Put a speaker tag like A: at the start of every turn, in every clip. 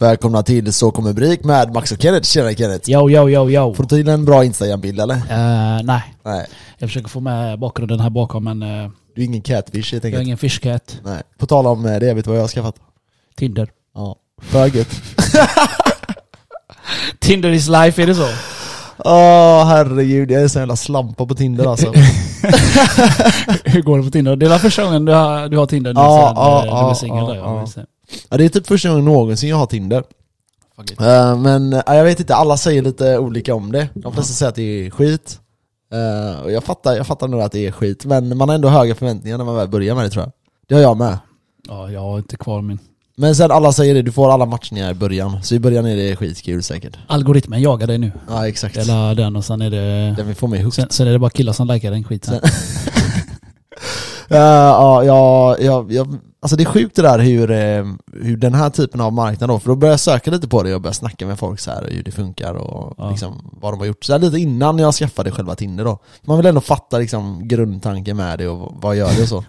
A: Välkomna till Så kommer Brik med Max och Kenneth. Tjena Kenneth!
B: Yo, yo, yo, yo.
A: Får du till en bra Instagram-bild eller?
B: Eh, nej,
A: Nej.
B: jag försöker få med bakgrunden här bakom men eh,
A: Du är ingen catfish helt
B: jag har
A: enkelt.
B: ingen fishcat.
A: Nej. På tal om eh, det, vet du vad jag har skaffat?
B: Tinder.
A: Ja. För gött.
B: Tinder is life, är det så?
A: Åh herregud, jag är så jävla slampa på Tinder alltså.
B: Hur går det på Tinder? Det är väl första gången du har, du har Tinder nu
A: Ja,
B: sen
A: ja,
B: eh, du
A: ja,
B: blev singel?
A: ja,
B: då,
A: ja.
B: ja. just det.
A: ja, det är typ första gången någonsin jag har Tinder.
B: Fuck it.
A: Eh, men eh, jag vet inte, alla säger lite olika om det. De flesta säger att det är skit. Eh, och jag fattar, jag fattar nog att det är skit, men man har ändå höga förväntningar när man väl börjar med det tror jag. Det har jag med.
B: Ja, jag har inte kvar min.
A: Men sen alla säger det, du får alla matchningar i början. Så i början är det skitkul säkert.
B: Algoritmen jagar dig nu.
A: Ja exakt.
B: Eller den och sen är det...
A: Den vill få mig hooked.
B: Sen, sen är det bara killar som likar den skiten.
A: Eh, Ja, ja, ja, ja, alltså det är sjukt det där hur, eh, hur den här typen av marknad då, för då började jag söka lite på det och började snacka med folk så här hur det funkar och
B: Ja.
A: liksom vad de har gjort. Så här lite innan jag skaffade själva Tinder då. Man vill ändå fatta liksom grundtanken med det och vad gör det och så.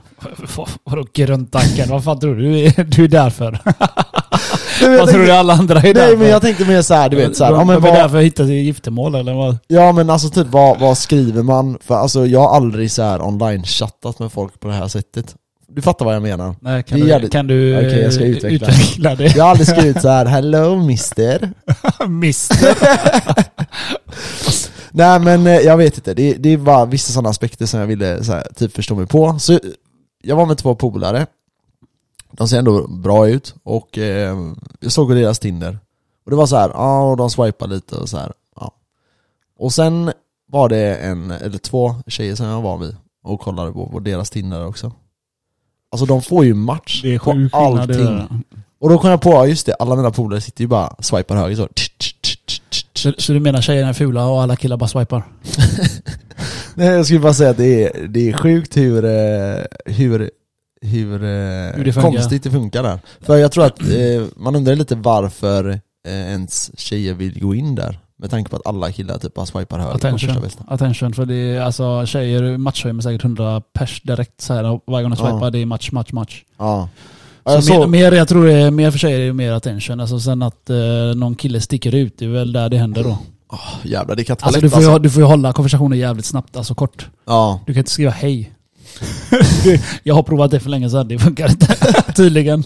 B: Vadå grundtanken? Vad fan tror du du är där för?
A: jag
B: Vad tror du
A: tänkte,
B: alla andra är där
A: nej men
B: för?
A: jag tänkte mer så här, du vet så här,
B: de,
A: ja, men
B: de är där
A: vad,
B: för att hitta sitt giftermål eller vad?
A: ja men alltså typ vad, vad skriver man? För alltså jag har aldrig så här online-chattat med folk på det här sättet. Du fattar vad jag menar.
B: Nej, kan,
A: Det är
B: du,
A: jävligt-
B: kan du
A: Okej, jag ska
B: eh,
A: utveckla.
B: utveckla det?
A: Jag har aldrig skrivit så här 'Hello mister'
B: Mister.
A: Nej men eh, jag vet inte, det, det var vissa sådana aspekter som jag ville så här, typ förstå mig på. Så eh, jag var med två polare, de ser ändå bra ut och eh, jag såg deras Tinder. Och det var så här, ja och de swipade lite och så här, ja. Och sen var det en, eller två tjejer som jag var med och kollade på, på deras Tinder också. Alltså de får ju match
B: Det är
A: på
B: sjuk skillnad det
A: allting.
B: där.
A: Och då kom jag på, ja, just det, alla mina polare sitter ju bara swipar höger så.
B: Så, så du menar tjejerna är fula och alla killar bara swipar?
A: Nej jag skulle bara säga att det är, det är sjukt hur, eh, hur, hur, eh,
B: Hur det funkar.
A: konstigt det funkar där. För jag tror att eh, man undrar lite varför eh, ens tjejer vill gå in där. Med tanke på att alla killar typ bara swipar höger på första
B: Attention.
A: bästa.
B: Attention. För det är, alltså, tjejer matchar ju med säkert 100 pers direkt så här, och varje gång de
A: Ja.
B: swipar. Det är match, match, match.
A: Ja.
B: Så
A: Ja, jag
B: Mer,
A: såg,
B: mer, jag tror det är mer för tjejer är ju mer attention. Alltså, sen att eh, någon kille sticker ut, det är väl där det händer då.
A: jävlar det kan inte vara
B: Alltså, du,
A: lätt
B: får
A: alltså.
B: ju, du får ju hålla konversationen jävligt snabbt, alltså kort.
A: Ja.
B: Du kan inte skriva hej. jag har provat det för länge sedan, det funkar inte. Tydligen.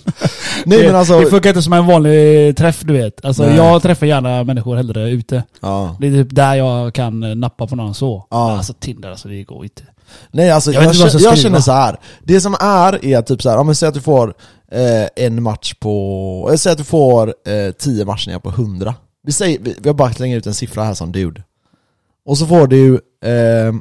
A: Nej
B: det,
A: men alltså,
B: det funkar inte som en vanlig träff du vet. Alltså,
A: Nej.
B: jag träffar gärna människor hellre ute.
A: ja.
B: Det är typ där jag kan eh, nappa på någon så.
A: Ja.
B: Alltså Tinder, alltså det går inte.
A: Nej alltså
B: Jag
A: jag,
B: vet inte vad jag
A: jag,
B: ska skriva.
A: känner så här. det som är är typ så här, ja men säg att du får eh, en match på, eller säg att du får eh, tio matchningar på hundra. Vi säger, vi, vi har bara slängt ut en siffra här som dude. Och så får du, eh,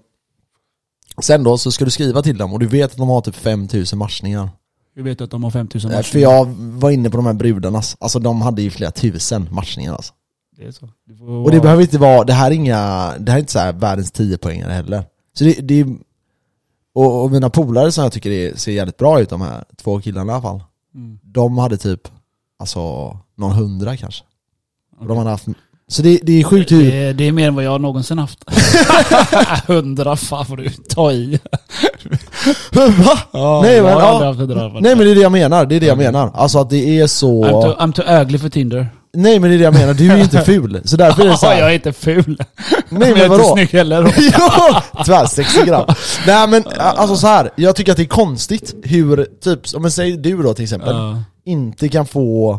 A: sen då så ska du skriva till dem och du vet att de har typ 5000 matchningar.
B: Vi vet ju att de har 5000
A: Eh,
B: matcher.
A: för jag var inne på de här brudarnas, alltså de hade ju flera tusen matchningar alltså.
B: Det är så. Du får
A: Och det
B: vara-
A: behöver inte vara, det här är inga, det här är inte så här världens 10 poängare heller. Så det, det är, och, och mina polare som jag tycker är, ser jävligt bra ut de här två killarna i alla fall.
B: Mm.
A: De hade typ, alltså, någon hundra kanske. Och de
B: Okej.
A: hade haft, så det, det är sjukt hur,
B: det, det är mer än vad jag någonsin haft. Hundra, fan får du ta i.
A: va?
B: Ja,
A: Nej,
B: jag
A: men,
B: har
A: ja.
B: aldrig haft hundra.
A: Nej men det är det jag menar, det är det jag menar. Alltså att det är
B: I'm too,
A: så,
B: I'm too ugly för Tinder.
A: nej men det är det jag menar, du är ju inte ful. Så därför är det så
B: Ja, jag
A: här,
B: är inte ful.
A: nej
B: jag
A: men
B: är inte
A: vadå?
B: snygg heller. då.
A: ja! Tyvärr, 60 gram. Nej men alltså så här. jag tycker att det är konstigt hur, typ, om man säger du då till exempel,
B: Ja.
A: inte kan få eh,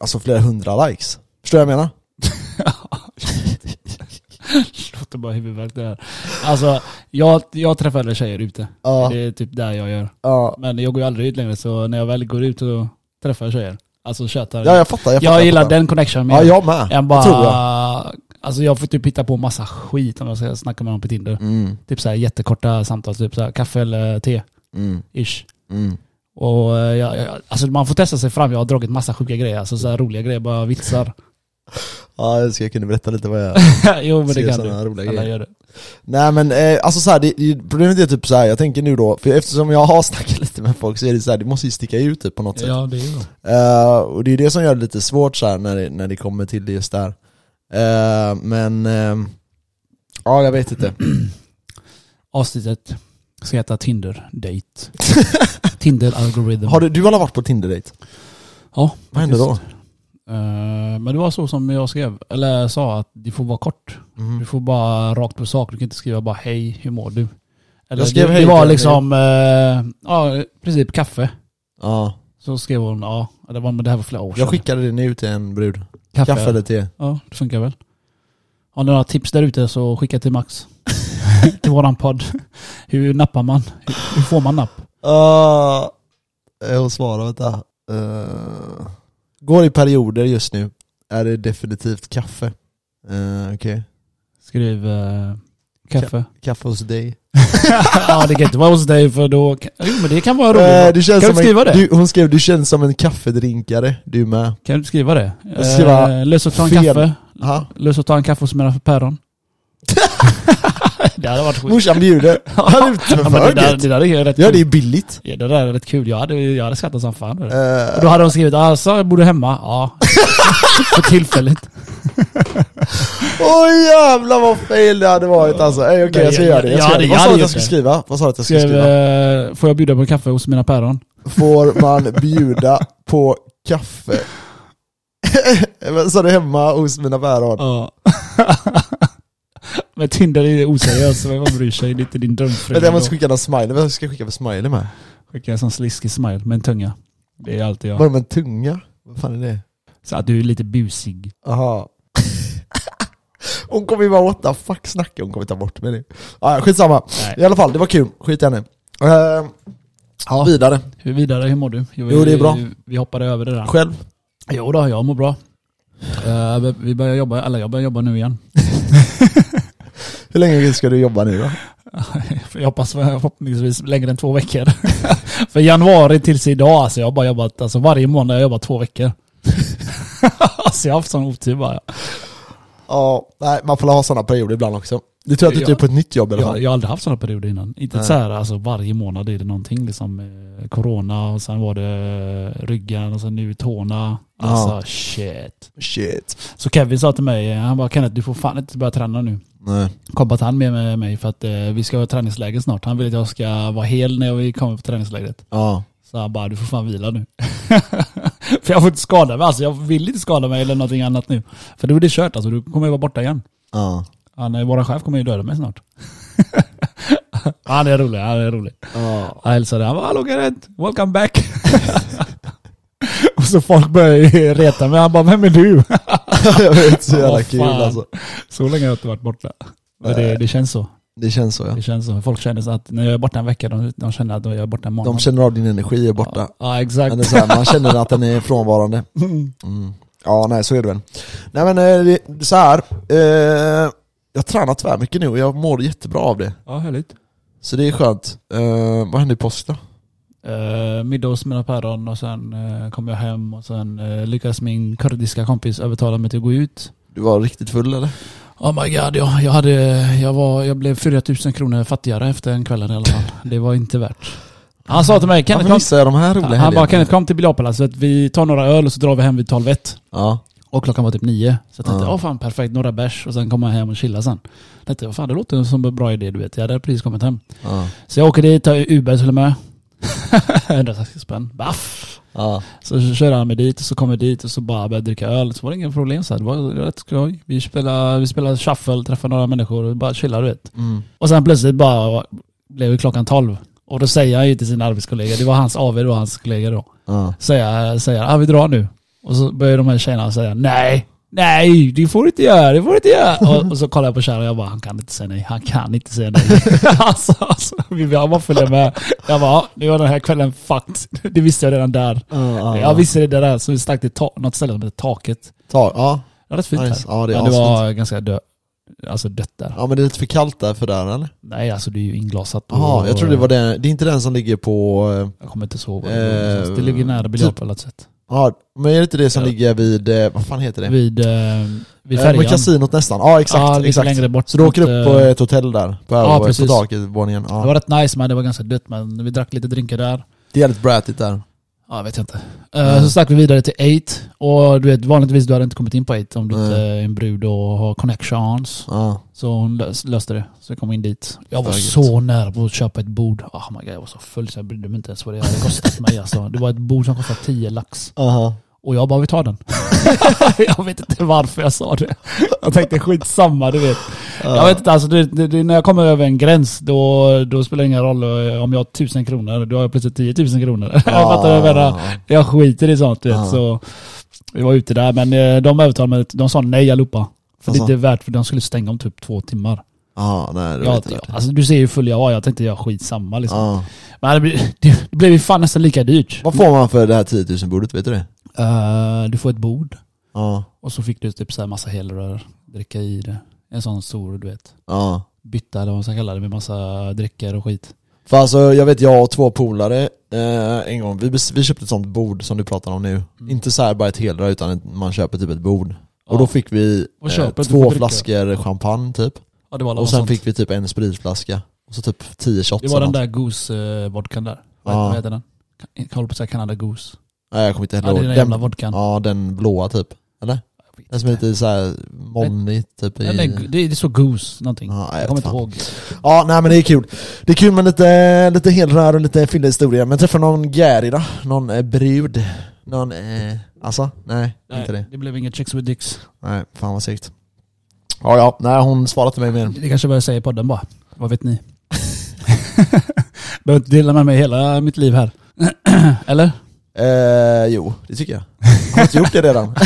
A: alltså flera hundra likes. Förstår du vad jag menar?
B: låter bara huvudvärk det här. Alltså, jag, jag träffar hellre tjejer ute.
A: Ja.
B: Det är typ där jag gör.
A: Ja,
B: Men jag går ju aldrig ut längre, så när jag väl går ut så träffar jag tjejer. Alltså chattar.
A: ja jag fattar, jag
B: jag
A: fattar.
B: gillar
A: fattar.
B: den connection mer.
A: Ja, jag med.
B: än
A: Det
B: bara...
A: tror jag.
B: Alltså jag får typ hitta på massa skit om jag ska snacka med någon på Tinder.
A: Mm,
B: Typ så här jättekorta samtal, typ så här, kaffe eller te.
A: mm,
B: Ish.
A: mm.
B: Och eh, jag, jag, alltså man får testa sig fram. Jag har dragit massa sjuka grejer. Alltså så här roliga grejer, bara vitsar.
A: Ja, jag önskar jag kunde berätta lite vad jag...
B: jo men
A: Ser
B: det kan du.
A: sådana roliga
B: Alla
A: grejer.
B: gör det.
A: Nej men eh, alltså så här, det, det- problemet är typ så här. jag tänker nu då, för eftersom jag har snackat lite med folk så är det så här, det måste ju sticka ut typ, på något sätt.
B: Ja det är ju bra.
A: Eh, och det är det som gör det lite svårt så här, när, det, när det kommer till det just där. Eh, men, ehm, ja jag vet inte.
B: Avsnittet ska heta Tinder Date. Tinder algorithm.
A: Har du, du har alla varit på Tinder-date?
B: Ja,
A: Vad hände då?
B: faktiskt. Eh, Men det var så som jag skrev, eller sa att det får vara kort.
A: Mhm. Mm.
B: Du får bara rakt på sak. Du kan inte skriva bara hej, hur mår du? Eller,
A: Jag skrev
B: det,
A: hej
B: det var
A: till
B: liksom, eh, ja i princip kaffe.
A: Ja.
B: Så skrev hon ja, det var, men det här var flera år sedan.
A: Jag skickade det nu till en brud. Kaffe eller te?
B: Ja, det funkar väl. Har ni några tips där ute så skicka till Max. till våran podd. Hur nappar man? Hur, hur får man napp?
A: Uh, jag svarar, vänta. Eh, går i perioder just nu. Är det definitivt kaffe. Eh, Okej.
B: Skriv eh, kaffe.
A: Kaffe hos dig.
B: ja, det kan inte vara hos dig för då... kan- Jo, men det kan vara
A: Eh,
B: roligt.
A: du känns
B: Kan du
A: som en-
B: skriva det?
A: Du, hon skrev du känns som en kaffedrinkare, du med.
B: Kan du inte skriva det?
A: Jag skriver
B: Eh, lös och ta en
A: fel.
B: kaffe.
A: Aha.
B: Lös och ta en kaffe och smälla för päron. det hade varit skit.
A: Morsan bjuder. Han är
B: Ja,
A: ute
B: men
A: för
B: det, där,
A: högt.
B: det där är rätt
A: Ja det
B: kul.
A: är billigt.
B: Ja, det där är rätt kul. Jag hade, jag hade skrattat som fan.
A: Eh,
B: Och då hade de skrivit alltså, jag bor du hemma? Ja. för tillfället.
A: Åh jävlar vad fel det hade varit alltså. Hey, Okej
B: Nej,
A: jag ska
B: jag-
A: göra det. Jag ska
B: jag hade-
A: göra det. Vad
B: jag
A: sa du
B: hade
A: att jag
B: gjort
A: skulle
B: det.
A: skriva? Vad sa du att jag skulle
B: Skrev,
A: skriva?
B: eh, får jag bjuda på en kaffe hos mina päron?
A: Får man bjuda på kaffe? Vad Sa du hemma hos mina päron?
B: Ja. Men Tinder är oseriös, vem bryr sig? Det är inte din drömfru.
A: Vänta jag måste
B: Då
A: skicka någon smiley. Vad ska jag skicka för smiley med?
B: Skickar en sån sliskig smile med en tunga. Det är alltid jag.
A: Var det med en tunga? Vad fan är det?
B: Så att du är lite busig.
A: Aha. hon kommer ju bara what the fuck snackar hon kommer ta bort mig nu. Ah, ja, skitsamma.
B: Nej.
A: I alla fall, det var kul. Skit i henne. Eh,
B: Ja.
A: Vidare.
B: Hur vidare, hur mår du?
A: Jo, det är bra.
B: Vi hoppade över det där.
A: Själv?
B: Jo då, jag mår bra. Eh, vi- vi börjar jobba, eller jag börjar jobba nu igen.
A: Hur länge ska du jobba nu då?
B: jag hoppas förhoppningsvis längre än två veckor. För januari tills idag, alltså jag har bara jobbat, alltså varje månad har jag jobbat två veckor. alltså jag har haft sån otur bara.
A: Ja, nej man får ha sådana perioder ibland också. Det tror jag att du
B: Ja.
A: inte är på ett nytt jobb i alla
B: Jag,
A: fall.
B: jag har aldrig haft sådana perioder innan. Inte
A: Nej.
B: så här, alltså varje månad är det någonting liksom. eh, Corona och sen var det eh, ryggen och sen nu tårna. Alltså shit.
A: Shit.
B: Så Kevin sa till mig, eh, han bara Kenneth du får fan inte börja träna nu.
A: Nej.
B: Kompat han med, med mig för att eh, vi ska ha träningsläger snart. Han vill att jag ska vara hel när vi kommer på träningslägret.
A: Ja.
B: Så han bara, du får fan vila nu. för jag får inte skada mig, alltså jag vill inte skada mig eller någonting annat nu. För då är det kört alltså, du kommer ju vara borta igen.
A: Ja.
B: Han, eh, våran chef kommer ju döda mig snart. han är rolig, han är rolig.
A: Ja.
B: Jag hälsade, han bara, hallå Gareth, welcome back. Och så folk började ju reta mig, han bara, vem är du?
A: jag vet, så
B: Vad
A: jävla kul
B: fan.
A: alltså.
B: så länge har jag inte varit borta. Men det, det känns så.
A: Det känns så ja.
B: Det känns så. Folk känner så att när jag är borta en vecka, de, de känner att jag är borta en månad.
A: De känner av din energi är borta.
B: Ja, exakt.
A: Men det är så här, man känner att den är frånvarande. Mm. Ja, nej så är det väl. Nej men eh, det- det är så här. Eh, jag tränar tvärmycket mycket nu och jag mår jättebra av det.
B: Ja, härligt.
A: Så det är skönt. Eh, vad händer i påsk då?
B: Eh, middag hos mina päron och sen eh, kom jag hem och sen eh, lyckades min kurdiska kompis övertala mig till att gå ut.
A: Du var riktigt full eller?
B: Oh my god, jag, jag, hade, jag, var, jag blev 4000 kronor fattigare efter den kvällen i alla fall. Det var inte värt. Han sa till mig, Kenneth
A: Varför
B: kom,
A: missar jag de här roliga
B: han,
A: helgerna?
B: bara Kenneth kom till biljardpalatset, vi tar några öl och så drar vi hem vid 12 ett."
A: Ja.
B: Och klockan var typ nio. Så jag tänkte,
A: Ja.
B: åh fan perfekt, några bärs och sen komma hem och chilla sen. Jag tänkte, "Vad fan det låter som en bra idé du vet. Jag hade precis kommit hem.
A: Ja.
B: Så jag åker dit, tar Uber till och med. 160 spänn. Baff!
A: ja.
B: Så körde han mig dit och så kom jag dit och så bara började dricka öl. Så var det inga problem så här. Det var rätt skoj. Vi spelade, vi spelade shuffle, träffade några människor och bara chillade du vet.
A: Mm.
B: Och sen plötsligt bara blev det klockan 12. Och då säger han ju till sina arbetskollegor, det var hans AV då, hans kollegor då.
A: ja.
B: Säger, säger ah, vi drar nu. Och så börjar de här tjejerna säga nej. Nej, det får du inte göra, det får du inte göra. Och, och så kollar jag på Sharon och jag bara, han kan inte säga nej, han kan inte säga nej. alltså, alltså, vi bara, man följer med. Jag bara, "Ja, nu var den här kvällen fucked. Det visste jag redan där.
A: Ja,
B: Jag visste det där, så vi stack till ta- något ställe som hette taket.
A: Ta, ja.
B: Det var rätt fint
A: Nice.
B: här.
A: Ja, det är
B: men det var ganska dö- alltså dött där.
A: ja men det är lite för kallt där för där eller?
B: Nej, alltså det är ju inglasat. och-
A: Jaha, jag tror det var den. Det är inte den som ligger på... eh,
B: Jag kommer inte ihåg. vad
A: Eh,
B: det, var. det ligger nära biljardpalatset.
A: Ja, men är det inte det som
B: Ja.
A: ligger vid... eh, Vad fan heter det?
B: Vid, eh, vid
A: Eh,
B: färjan.
A: Med kasinot nästan. Ja exakt.
B: Ja, lite
A: exakt.
B: längre bort.
A: Så du åker
B: mot,
A: upp på
B: eh,
A: ett hotell där, på,
B: ja,
A: över, på
B: precis.
A: takvåningen.
B: Det var
A: Ja.
B: rätt nice men det var ganska dött men vi drack lite drinkar där.
A: Det är jävligt brätigt där.
B: Ja, jag vet inte. Eh,
A: Mm.
B: Så stack vi vidare till 8 och du vet vanligtvis du hade inte kommit in på 8 om du
A: Nej.
B: inte är en brud och har connections.
A: Ja.
B: Så hon lös- löste det. Så jag kom in dit. Jag var
A: Starkt.
B: så nära på att köpa ett bord. Ah, Oh my god, jag var så full så jag brydde mig inte ens vad det hade kostat mig alltså. Det var ett bord som kostade 10 lax.
A: Aha.
B: Och jag bara, vi tar den. jag vet inte varför jag sa det. Jag tänkte skitsamma, du vet. Jag vet inte, alltså, det, det, det, när jag kommer över en gräns då, då spelar det ingen roll eh, om jag har tusen kronor, då har jag plötsligt 10 000 kronor. Fattar du vad jag menar? Jag skiter i sånt, du vet.
A: Ja.
B: Så vi var ute där, men eh, de övertalade mig. De sa nej allihopa. För
A: Alltså.
B: det är inte värt, för de skulle stänga om typ två timmar.
A: Ja, nej det var
B: Jag,
A: inte värt det.
B: alltså, du ser ju hur full jag var, jag tänkte jag skitsamma liksom.
A: Ja.
B: Men det, blir- det blev ju fan nästan lika dyrt.
A: Vad får man för det här 10 000 bordet, vet du det?
B: Eh, du får ett bord
A: Ja,
B: och så fick du typ så här massa helrör, dricka i det. En sån stor, du vet.
A: ja.
B: Bytta eller vad man ska kalla det med massa drycker och skit.
A: För alltså, jag vet jag och två polare eh, en gång, vi, bes- vi köpte ett sånt bord som du pratar om nu. Inte så här bara ett helrör utan ett, man köper typ ett bord.
B: Mm. Ja.
A: Och då fick vi
B: Och köper,
A: eh,
B: du får
A: två
B: dricka.
A: flaskor champagne typ.
B: Ja, det var
A: Och sen fick vi typ en spritflaska. Och så typ 10 shots
B: Det var
A: eller
B: den
A: något.
B: där Goose-vodkan där. Vad-
A: Ja.
B: Vad heter den? Kan- Jag håller på att säga Canada Goose.
A: Nej jag kommer inte heller
B: Ja, det är den
A: ihåg.
B: jävla vodkan.
A: ja, den blåa typ. Eller? Den som är lite såhär molnig typ i...
B: Nej, nej, gu- det, det står Goose någonting.
A: Ja, jag
B: jag kommer
A: vet
B: inte
A: fan.
B: ihåg.
A: Ja, nej men det är kul. Det är kul med lite, lite helrör och lite fyllehistoria. Men träffa någon gäri då? Någon eh, brud? Någon, eh, alltså? Nej, inte det.
B: det blev inget Chicks with Dicks.
A: Nej, fan vad segt. Ja, ja, nej hon svarade till mig mer.
B: Det kanske var jag säger i podden bara. Vad vet ni? Behöver inte dela med mig hela mitt liv här. Eller?
A: Eh, jo, det tycker jag. Har jag inte gjort det redan?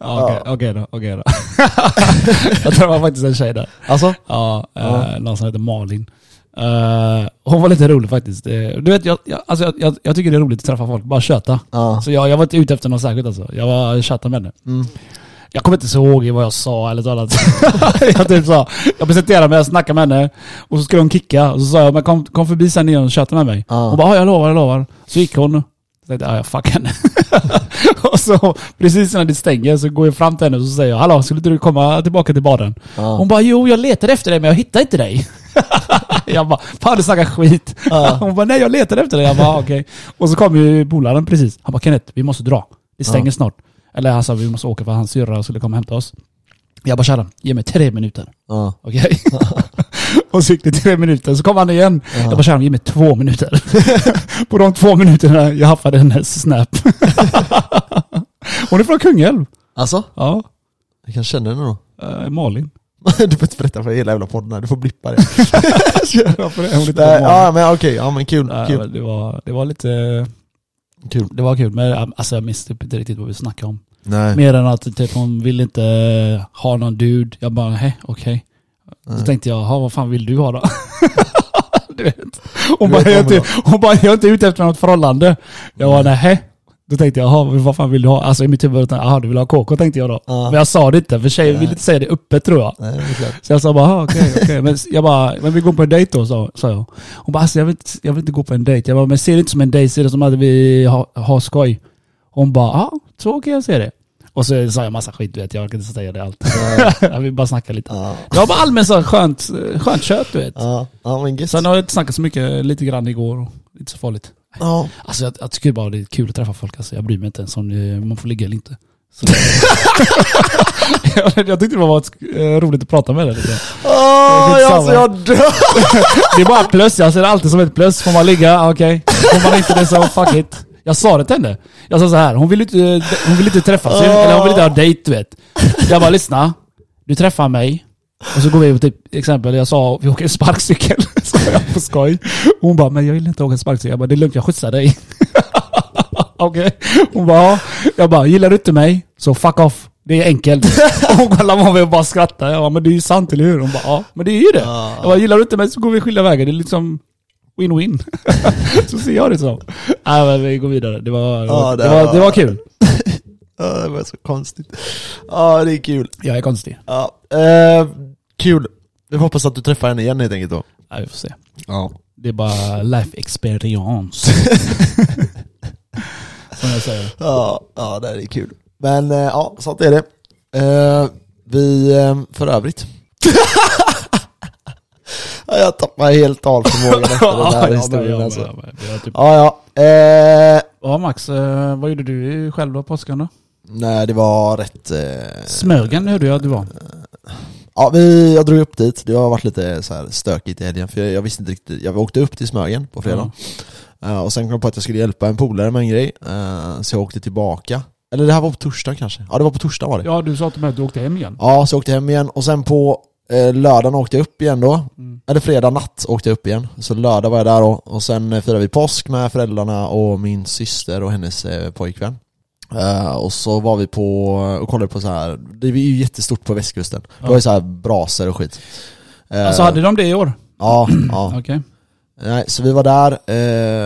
B: Ja, okej-
A: Ja.
B: Okej då, okej då. jag tror det var faktiskt en tjej där.
A: Alltså?
B: Ja,
A: Ja.
B: Eh, någon som heter Malin. Eh, hon var lite rolig faktiskt. Eh, du vet, jag, jag, alltså, jag- jag, jag tycker det är roligt att träffa folk, bara köta.
A: Ja.
B: Så jag, jag var inte ute efter något särskilt alltså. Jag var jag tjatade med henne.
A: Mm.
B: Jag kommer inte så ihåg vad jag sa eller något annat. jag typ sa, jag presenterade mig, jag snackade med henne och så skulle hon kicka. Och så sa jag, men kom, kom förbi sen igen och tjata med mig.
A: Ja.
B: Hon bara, "Ja, jag lovar, jag lovar. Så gick hon. Så tänkte jag, "Ja, jag fuck henne. och så precis när det stänger så går jag fram till henne och så säger jag, hallå skulle inte du komma tillbaka till baren?
A: Ja.
B: Hon bara, jo jag letade efter dig men jag hittade inte dig. jag bara, fan du snackar skit.
A: Ja.
B: Hon bara, nej jag letade efter dig. Jag bara, okej. Och så kom ju polaren precis. Han bara, Kenneth vi måste dra. Det stänger
A: Ja.
B: snart. Eller han sa, vi måste åka för hans syrra skulle komma och hämta oss. Jag bara, kära, ge mig tre minuter.
A: Ja.
B: Okej? och så gick det tre minuter, så kom han igen. Jag bara, kära, ge mig två minuter. På de två minuterna jag haffade hennes snap. Hon är från Kungälv.
A: Alltså?
B: Ja,
A: Jag kan känna henne då.
B: eh, Malin.
A: Du får inte berätta för hela jävla podden här, du får blippa det.
B: Varför är hon lite
A: Nej,
B: från Malin?
A: ja men okej, ja men kul,
B: Ja,
A: kul,
B: men Det, var, det var lite...
A: kul.
B: Det var kul, men alltså, jag minns typ inte riktigt vad vi snackade om.
A: Nej.
B: Mer än att typ, hon ville inte ha någon dude. Jag bara, hej, okej. Så tänkte jag, "Jaha, vad fan vill du ha då? du vet. Hon,
A: Du
B: bara,
A: vet
B: jag
A: vad hon
B: är inte, hon bara, jag är inte ute efter något förhållande. Jag bara, nej. Då tänkte jag, "Jaha, vad fan vill du ha? Alltså i mitt huvud, jaha du vill ha KK tänkte jag då.
A: Ja.
B: Men jag sa det inte, för tjejer vill inte säga det öppet tror jag.
A: Nej, det är klart.
B: Så jag sa bara, "Aha, okej, okej. Men jag bara, men vi går på en dejt då, sa, sa jag. Hon bara, alltså, jag, vill inte, jag vill inte gå på en dejt. Jag bara, men ser det inte som en dejt, ser det som att vi har ha skoj. Hon bara, ja, så kan jag se det. Och så sa jag massa skit, du vet. Jag kan inte säga det allt. jag vill bara snacka lite.
A: Ja.
B: Det var bara allmänt så skönt, skönt kött, du vet.
A: Ja, ja men gött.
B: Sen har jag inte snackat så mycket, lite grann igår. och Inte så farligt.
A: Ja.
B: Alltså jag, jag tycker bara det är kul att träffa folk. Alltså, jag bryr mig inte ens om eh, man får ligga eller inte. Så. jag, jag tyckte det var eh, roligt att prata med dig lite.
A: Åh,
B: skitsamma.
A: alltså jag dör!
B: Det är bara plus, jag ser det alltid som ett plus. Får man ligga, ah, okej. Får man inte det så fuck it. Jag sa det till henne. Jag sa så här, hon vill inte, eh, hon vill inte träffas, eller hon vill inte ha dejt du vet. Jag bara lyssna, du träffar mig. Och så går vi på typ, exempel jag sa vi åker sparkcykel. Så jag på skoj. Hon bara, men jag vill inte åka sparkcykel. Jag bara, det är lugnt jag skjutsar dig. Okej. Hon bara, ja. Jag bara, gillar du inte mig så fuck off. Det är enkelt. Och Hon kollade på mig och bara skrattade. Jag bara, men det är ju sant eller hur? Hon bara, ja. Men det är ju det.
A: Ja.
B: Jag bara, gillar du inte mig så går vi skilda vägar. Det är liksom win-win. så ser jag det som. Nej men vi går vidare. Det var,
A: Ja,
B: det
A: det
B: var,
A: var-
B: det var kul.
A: Ja, det var så konstigt. Ja, det är kul.
B: Jag är konstig.
A: Ja, eh, kul. Vi får hoppas att du träffar henne igen helt enkelt då.
B: Ja, vi får se.
A: Ja.
B: Det är bara life experience. Som jag säger.
A: Ja, ja det här är kul. Men eh, ja, sånt är det. Eh, vi, eh, för övrigt. Ja, jag tappar helt talförmågan efter den här historien
B: men-
A: alltså.
B: men- men jag typ-
A: Ja, ja. Eh,
B: Ja Max, eh, vad gjorde du själv då på påsken då?
A: nej, det var rätt... Eh,
B: Smögen hörde jag att du var.
A: Ja, vi, jag drog upp dit. Det har varit lite så här stökigt i helgen, för jag, jag visste inte riktigt. Jag åkte upp till Smögen på fredag. Eh, och sen kom jag på att jag skulle hjälpa en polare med en grej, eh, så jag åkte tillbaka. Eller det här var på torsdag kanske? Ja det var på torsdag var det.
B: Ja, du sa till mig att du åkte hem igen.
A: Ja, så jag åkte hem igen och sen på eh, lördagen åkte jag upp igen då.
B: Mm.
A: Eller fredag natt åkte jag upp igen. Så lördag var jag där då. Och sen eh, firade vi påsk med föräldrarna och min syster och hennes eh, pojkvän. Eh, och så var vi på och kollade på så här. det är ju jättestort på västkusten. Det var ju så här braser och skit. Eh,
B: Alltså hade de det i år?
A: Ja, ja.
B: Okej.
A: Nej, så vi var där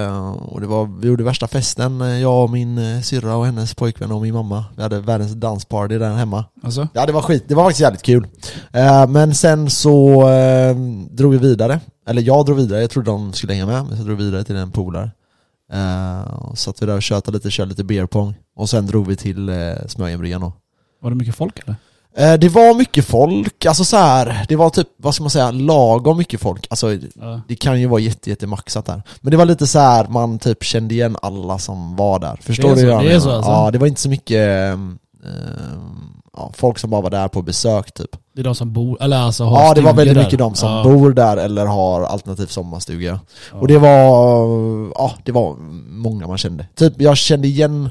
A: eh, och det var, vi gjorde värsta festen, eh, jag och min eh, syrra och hennes pojkvän och min mamma. Vi hade världens dansparty där hemma.
B: Alltså?
A: Ja det var skit, det var faktiskt jävligt kul. Eh, men sen så eh, drog vi vidare, eller jag drog vidare, jag trodde de skulle hänga med, men så drog vi vidare till en polare. Eh, och satt vi där och tjötade lite, körde lite beer pong. Och sen drog vi till eh, Smögenbryggan då.
B: Var det mycket folk eller?
A: Eh, det var mycket folk, alltså så här, det var typ, vad ska man säga, lagom mycket folk. Alltså
B: Ja.
A: det kan ju vara jätte, jätte maxat där. Men det var lite så här, man typ kände igen alla som var där. Förstår
B: Det är
A: du
B: så,
A: hur jag
B: det är
A: menar?
B: så alltså.
A: Ja, det var inte så mycket ehm, ehm, ja, folk som bara var där på besök typ.
B: Det är de som bor, eller alltså har
A: Ja, det var
B: stugor
A: väldigt
B: där.
A: mycket de som
B: Ja.
A: bor där eller har alternativ sommarstuga.
B: Ja.
A: Och det var, ja det var många man kände. Typ jag kände igen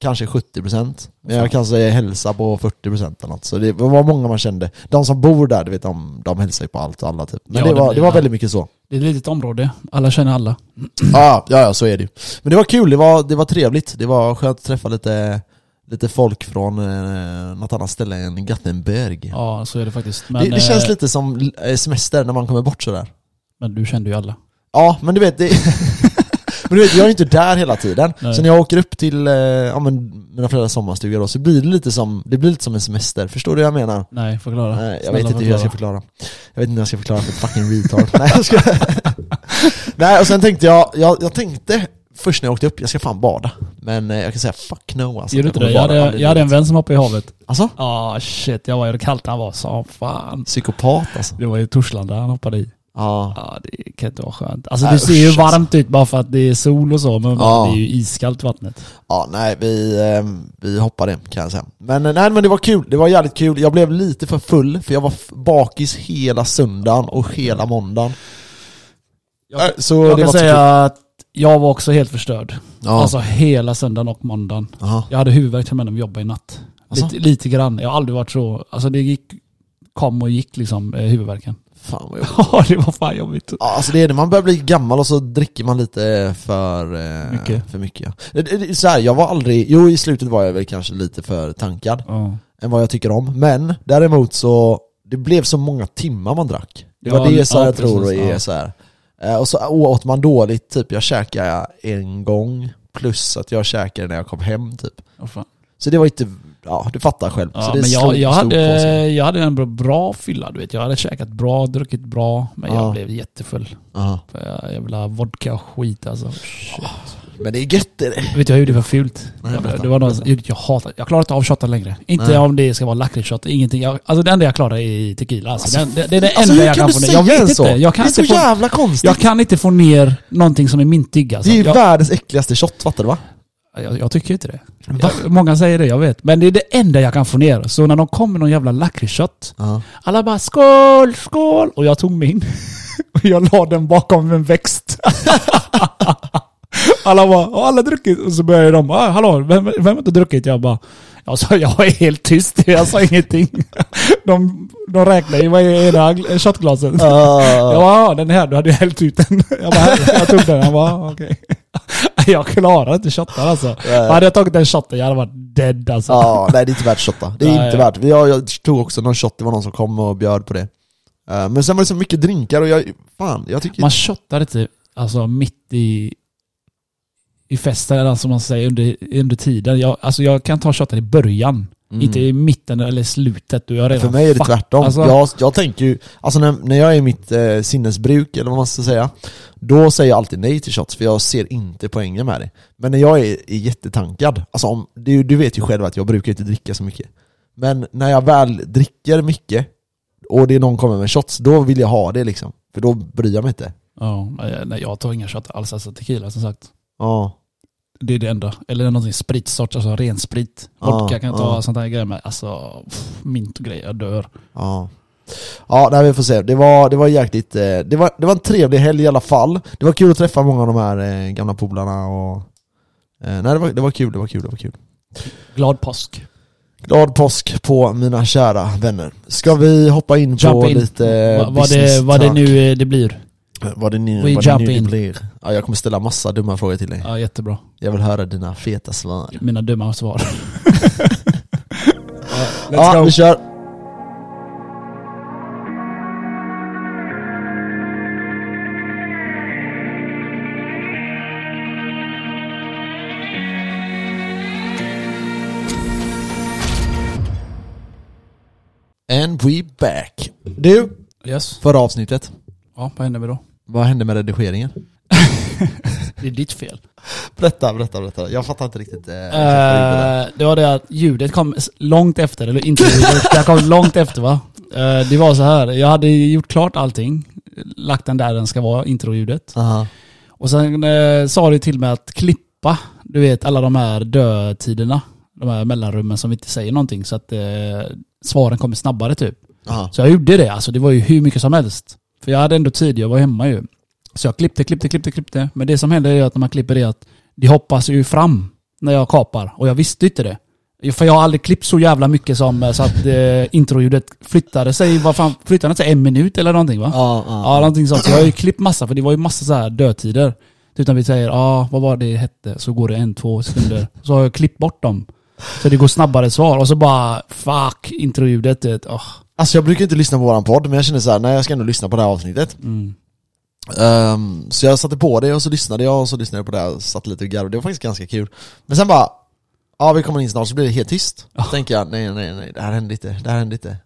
A: kanske 70% men jag
B: Fan.
A: kanske hälsade på 40% eller något. Så det var många man kände. De som bor där, du vet de, de hälsar ju på allt och alla typ. Men
B: Ja,
A: det,
B: det
A: var,
B: blir
A: det var
B: det.
A: väldigt mycket så.
B: Det är ett litet område. Alla känner alla.
A: Ja, ja, ja, så är det ju. Men det var kul, det var, det var trevligt. Det var skönt att träffa lite, lite folk från eh, något annat ställe än Gattenberg.
B: Ja, så är det faktiskt. Men,
A: det, det
B: eh,
A: känns lite som eh, semester när man kommer bort sådär.
B: men du kände ju alla.
A: Ja, men du vet, det... men du vet jag är ju inte där hela tiden.
B: Nej.
A: Så när jag åker upp till eh, ja, men mina föräldrars sommarstuga då, så blir det lite som, det blir lite som en semester. Förstår du vad jag menar?
B: Nej, förklara.
A: Nej, jag
B: Snälla,
A: vet inte hur jag ska
B: förklara.
A: förklara. Jag vet inte hur jag ska förklara för ett fucking retard. Nej, jag ska... Nej, och sen tänkte jag, jag, jag tänkte först när jag åkte upp, jag ska fan bada. Men eh, jag kan säga fuck no alltså.
B: Gör du inte
A: kommer
B: det? Jag
A: bada
B: hade,
A: aldrig
B: jag hade en
A: livet.
B: vän som hoppade i havet.
A: Alltså?
B: Ja, Ah, shit. Jag var i det kallt han var som fan.
A: Psykopat alltså.
B: Det var i Torslanda han hoppade i.
A: Ja.
B: Ja, det kan inte vara skönt. Alltså
A: Nej,
B: det ser ju
A: usch,
B: varmt ut bara för att det är sol och så, men
A: Ja.
B: det är ju iskallt vattnet.
A: Ja, nej, vi, eh, vi hoppade kan jag säga. Men eh, nej, men det var kul. Det var jävligt kul. Jag blev lite för full, för jag var f- bakis hela söndagen och hela måndagen.
B: Jag-
A: Nej, så
B: jag kan
A: var
B: säga
A: så kul.
B: att jag var också helt förstörd.
A: Ja.
B: Alltså hela söndagen och måndagen.
A: Jaha.
B: Jag hade huvudvärk till och med när vi jobbade i natt.
A: Alltså?
B: Lite, lite grann. Jag har aldrig varit så... Alltså det gick... Kom och gick liksom eh, huvudvärken.
A: Fan vad jobbigt.
B: Ja, det var fan jobbigt.
A: Ja, alltså det är när man börjar bli gammal och så dricker man lite för eh,
B: Mycket.
A: För mycket ja. Det- det- det är Så här, jag var aldrig, jo i slutet var jag väl kanske lite för tankad
B: Ja.
A: än vad jag tycker om. Men däremot så, det blev så många timmar man drack. Det
B: Ja,
A: var det så
B: ja,
A: jag
B: precis,
A: tror är
B: ja.
A: så här. Eh, Och så åt man dåligt, typ jag käkade en gång, plus att jag käkade när jag kom hem typ.
B: Vad fan.
A: Så det var inte, ja du fattar själv.
B: Ja,
A: så det
B: men jag,
A: slog-
B: jag,
A: slog på
B: hade,
A: sig.
B: jag hade en bra, bra fylla, du vet. Jag hade käkat bra, druckit bra, men
A: Ja.
B: jag blev jättefull.
A: Ja.
B: För Jag, jag ville ha vodka och skit alltså. Shit.
A: Men det är gött är det.
B: Vet du, jag gjorde det för fult.
A: Nej,
B: Jag-
A: berätta,
B: det var något
A: berätta.
B: jag, jag hatar. Jag klarar inte av shottar längre. Inte
A: Nej.
B: om det ska vara lakritsshot, ingenting. Jag, alltså det enda jag klarar är tequila. Alltså, det, det, det är det
A: Alltså
B: enda
A: hur
B: jag
A: kan
B: kan
A: du
B: få ner.
A: säga
B: Jag vet
A: en
B: inte.
A: så?
B: Jag
A: det
B: kan
A: är så
B: inte få,
A: jävla konstigt.
B: jag kan inte få ner någonting som är mintig alltså.
A: det är ju
B: jag,
A: världens äckligaste shot, fattar du va?
B: jag, jag tycker inte det. Jag, många säger det, jag vet. Men det är det enda jag kan få ner. Så när de kom med någon jävla lakritsshot,
A: Ja.
B: alla bara skål, skål! Och jag tog min. Och jag la den bakom en växt. alla bara, "Har alla druckit? Och så började de, "Ah, hallå, vem, vem har inte druckit? Jag bara, jag sa, jag är helt tyst, jag sa ingenting. De, de räknade ju, vad är det här shotglaset? Jag bara, "Ah, den här, du hade ju hällt ut den. Jag bara, "Här." jag tog den. Jag bara, "Ah, okej. Jag klarar inte shottar alltså.
A: Nej.
B: Hade jag tagit den shotten, jag hade varit dead alltså.
A: Ja, nej det är inte värt att shotta. Det är
B: Nej.
A: inte värt. Jag, jag tog också någon shot, det var någon som kom och bjöd på det. Eh, Men sen var det så mycket drinkar och jag, fan, jag tycker
B: Man shottar inte alltså mitt i i festen, eller som man säger, under, under tiden. Jag, alltså jag kan ta shotten i början.
A: Mm.
B: Inte i mitten eller slutet. Du har redan
A: För mig är det
B: fuck-
A: tvärtom.
B: Alltså,
A: Jag, jag tänker ju, alltså när, när jag är i mitt eh, sinnesbruk, eller vad man ska säga, då säger jag alltid nej till shots, för jag ser inte poängen med det. Men när jag är, är jättetankad, alltså om, du, du vet ju själv att jag brukar inte dricka så mycket. Men när jag väl dricker mycket, och det är någon kommer med shots, då vill jag ha det liksom. För då bryr jag mig inte.
B: Ja, nej, jag tar inga shottar alls. Alltså tequila som sagt.
A: Ja.
B: Det är det enda. Eller någonting spritsort, alltså ren sprit.
A: Ja,
B: Vodka kan jag ta,
A: ja.
B: sånt här grejer med. Alltså, pff, mint och grejer, jag dör.
A: Ja. Ja, nej, vi får se. Det var, det var jäkligt... eh, Det var, det var en trevlig helg i alla fall. Det var kul att träffa många av de här eh, gamla polarna och... Eh, nej, det var, det var kul, det var kul, det var kul.
B: Glad påsk.
A: Glad påsk på mina kära vänner. Ska vi hoppa in
B: Jump
A: på
B: in.
A: lite
B: Va- vad, det, vad det
A: business-tack?
B: nu eh, det blir.
A: Vad det nu,
B: We
A: vad det
B: jump
A: nu det
B: in.
A: blir. Ja, jag kommer ställa massa dumma frågor till dig.
B: Ja, jättebra.
A: Jag vill höra dina feta svar.
B: Mina dumma svar. Let's
A: ja,
B: go.
A: vi kör! And we back. Du,
B: Yes.
A: förra avsnittet.
B: Ja, vad händer med då?
A: Vad hände med redigeringen?
B: Det är ditt fel.
A: Berätta, berätta, berätta. Jag fattar inte riktigt. Eh,
B: Eh,
A: exakt vad du gjorde där.
B: det var det att ljudet kom s- långt efter, eller inte ljudet, det kom långt efter va? Eh, det var så här, jag hade gjort klart allting, lagt den där den ska vara, introljudet.
A: Aha.
B: Och sen eh, sa du till mig att klippa, du vet alla de här dödtiderna, de här mellanrummen som vi inte säger någonting så att eh, svaren kommer snabbare typ.
A: Aha.
B: Så jag gjorde det, alltså det var ju hur mycket som helst. För jag hade ändå tid, jag var hemma ju. Så jag klippte, klippte, klippte, klippte. Men det som händer är att när man klipper det att det hoppas ju fram när jag kapar. Och jag visste inte det. För jag har aldrig klippt så jävla mycket som eh, så att eh, introljudet flyttade sig, vad fan, flyttade det sig en minut eller någonting va?
A: Ja,
B: Ja, någonting sånt. Så jag har ju klippt massa, för det var ju massa så här dödtider. Typ när vi säger, ja, ah, vad var det hette? Så går det en, två sekunder. Så har jag klippt bort dem. Så det går snabbare svar. Och så bara, fuck, introljudet. du vet. Åh.
A: Alltså jag brukar inte lyssna på våran podd, men jag kände så här, nej jag ska ändå lyssna på det här avsnittet.
B: Mm.
A: Ehm, så jag satte på det och så lyssnade jag och så lyssnade jag på det här och satt lite och garvade. Det var faktiskt ganska kul. Men sen bara, ja vi kommer in snart så blir det helt tyst. Då tänker jag, nej nej nej, det här händer inte, det här händer inte.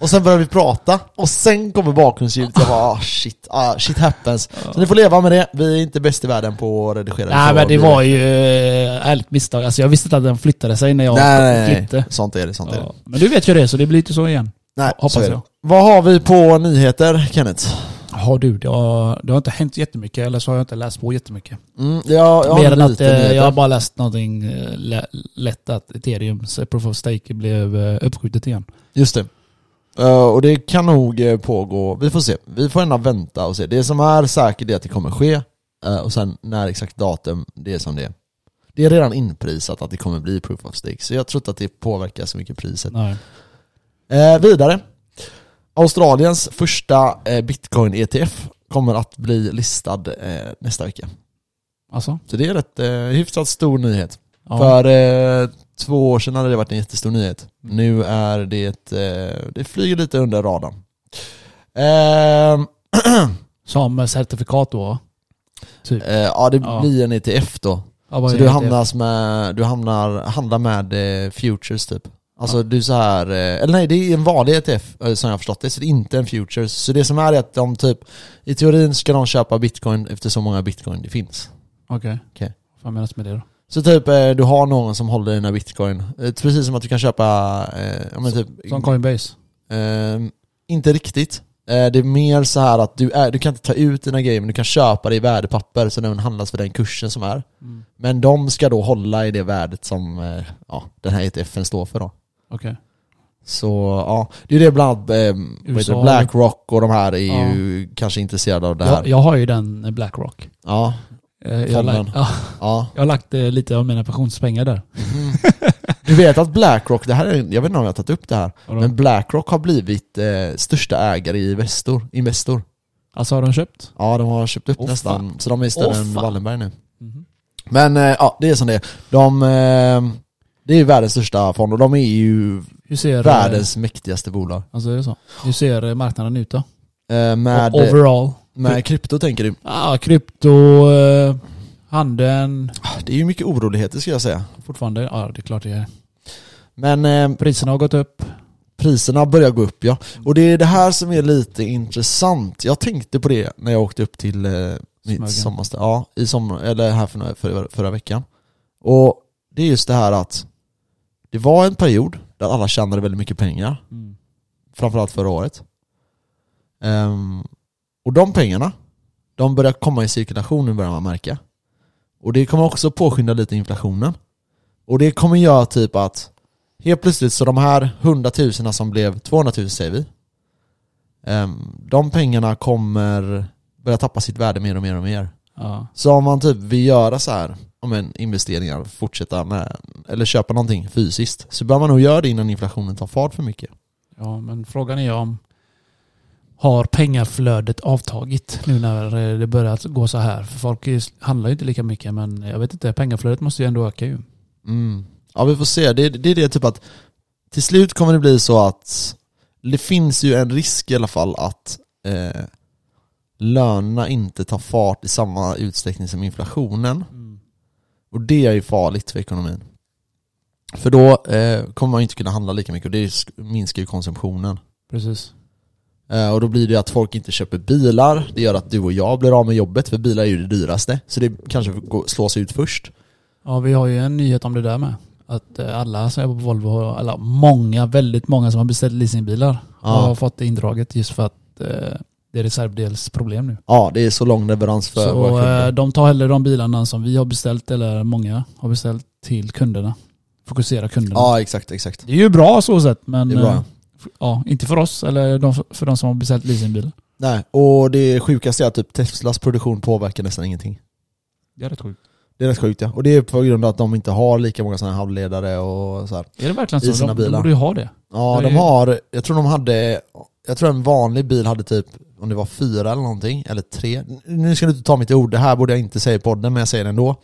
A: Och sen börjar vi prata, och sen kommer bakgrundsljudet. Jag bara, ah, shit, ah, shit happens. Så ni får leva med det, vi är inte bäst i världen på att redigera.
B: Nej men det var ju eh, ärligt misstag. Alltså jag visste inte att den flyttade sig när jag
A: Nej, nej, nej.
B: klippte.
A: Sånt är det, sånt är det.
B: Ja. Men du vet ju det, så det blir inte så igen.
A: Nej,
B: Hoppas
A: så är det.
B: jag.
A: Vad har vi på nyheter, Kenneth?
B: Ja du, det har, det har inte hänt jättemycket, eller så har jag inte läst på jättemycket.
A: Mm, jag, jag har
B: Mer än att
A: lite
B: eh,
A: nyheter.
B: jag har bara läst någonting eh, lä- lätt att Ethereums eh, Proof of Stake blev eh, uppskjutet igen.
A: Just det. Eh, och det kan nog eh, pågå, vi får se. Vi får ändå vänta och se. Det som är säkert är att det kommer ske, eh, och sen när exakt datum, det är som det är. Det är redan inprisat att det kommer bli proof of stake, så jag tror inte att det påverkar så mycket priset.
B: Nej.
A: Eh, vidare. Australiens första eh, bitcoin-ETF kommer att bli listad eh, nästa vecka.
B: Alltså?
A: Så det är rätt eh, hyfsat stor nyhet.
B: Ja.
A: För eh, två år sedan hade det varit en jättestor nyhet.
B: Mm.
A: Nu är det, eh, det flyger lite under radarn. Ehm,
B: Som eh, certifikat då? Typ.
A: eh, ja, det
B: Ja.
A: blir en ETF då.
B: Ja, vad
A: Så
B: är E
A: du
B: det?
A: hamnas med, du hamnar, handlar med eh, futures typ. Alltså du så här, eh, eller nej det är en vanlig ETF eh, som jag har förstått det, så det är inte en futures. Så det som är är att de typ, i teorin ska de köpa bitcoin efter så många bitcoin det finns.
B: Okej.
A: Okej.
B: Vad menas med det då?
A: Så typ eh, du har någon som håller dina bitcoin. Eh, Precis som att du kan köpa, eh, ja men typ,
B: Som Coinbase?
A: eh, inte riktigt. Eh, det är mer så här att du, är, du kan inte ta ut dina grejer men du kan köpa det i värdepapper så den handlas för den kursen som är.
B: Mm.
A: Men de ska då hålla i det värdet som eh, ja, den här ETFen står för då.
B: Okej.
A: Så ja, det är ju det bland annat eh, vad heter
B: USA.
A: det, Blackrock och de här är ju kanske intresserade av det här.
B: Jag, jag har ju den eh, Blackrock.
A: Ja,
B: Eh, Jag har,
A: Fonden.
B: lagt, ja,
A: ja.
B: jag har lagt eh, lite av mina pensionspengar där.
A: Du vet att Blackrock, det här är, jag vet inte om jag har tagit upp det här,
B: Vadå?
A: men Blackrock har blivit eh, största ägare i Investor. Investor.
B: Alltså har de köpt?
A: Ja, de har köpt upp
B: Åh,
A: nästan, så de är större
B: Åh,
A: än
B: fan.
A: Wallenberg nu.
B: Mhm.
A: Men eh, ja, det är som det är. De, eh, det är ju världens största fond och de är ju
B: Hur ser, eh,
A: världens mäktigaste bolag.
B: alltså är det så? Hur ser eh, marknaden ut då?
A: Eh, med,
B: O- Overall?
A: med krypto tänker du?
B: Ah, krypto, eh, handeln,
A: Ah, Det är ju mycket oroligheter ska jag säga.
B: fortfarande. Ja, det är klart det är.
A: Men eh,
B: Priserna har gått upp.
A: priserna börjar gå upp ja. Och det är det här som är lite intressant. Jag tänkte på det när jag åkte upp till eh, mitt
B: Smögen.
A: sommarställe, ja, i sommar, eller här för, för, förra veckan. Och det är just det här att det var en period där alla tjänade väldigt mycket pengar,
B: Mm.
A: framförallt förra året. Ehm, och de pengarna, de börjar komma i cirkulation nu börjar man märka. Och det kommer också påskynda lite inflationen. Och det kommer göra typ att helt plötsligt så de här hundratuserna som blev 200 000 säger vi, Ehm, De pengarna kommer börja tappa sitt värde mer och mer och mer.
B: Ja.
A: Så om man typ vill göra så här, om en investeringar, fortsätta med, eller köpa någonting fysiskt, så bör man nog göra det innan inflationen tar fart för mycket.
B: ja, men frågan är om har pengaflödet avtagit nu när eh, det börjar att gå så här? För folk är- handlar ju inte lika mycket men jag vet inte, pengaflödet måste ju ändå öka ju.
A: Mm. Ja vi får se, det, det är det typ att till slut kommer det bli så att det finns ju en risk i alla fall att eh, lönerna inte tar fart i samma utsträckning som inflationen.
B: Mm.
A: Och det är ju farligt för ekonomin. För då eh, kommer man ju inte kunna handla lika mycket och det sk- minskar ju konsumtionen.
B: Precis.
A: Eh, och då blir det ju att folk inte köper bilar, det gör att du och jag blir av med jobbet för bilar är ju det dyraste. Så det kanske går- slås ut först.
B: Ja, vi har ju en nyhet om det där med. Att eh, alla som jobbar på Volvo, alla många, väldigt många som har beställt leasingbilar har
A: Ja,
B: fått det indraget just för att eh, det är reservdelsproblem nu.
A: ja det är så lång leverans för våra
B: Så
A: kunder.
B: eh, de tar hellre de bilarna som vi har beställt eller många har beställt till kunderna. Fokusera kunderna.
A: Ja, exakt, exakt.
B: Det är ju bra så sett men
A: Det är bra.
B: eh, f- ja, inte för oss eller de, för de som har beställt leasingbilar.
A: Nej, och det sjukaste är att typ Teslas produktion påverkar nästan ingenting.
B: Det är rätt sjukt.
A: Det är rätt sjukt ja. Och det är på grund av att de inte har lika många sådana här halvledare och så här.
B: Är det verkligen
A: I
B: så?
A: sina
B: De, de
A: bilar.
B: borde ju ha det.
A: Ja,
B: Det är
A: de
B: ju-
A: har, jag tror de hade, jag tror en vanlig bil hade typ, om det var fyra eller någonting, eller tre. Nu ska du inte ta mitt ord, det här borde jag inte säga i podden, men jag säger det ändå.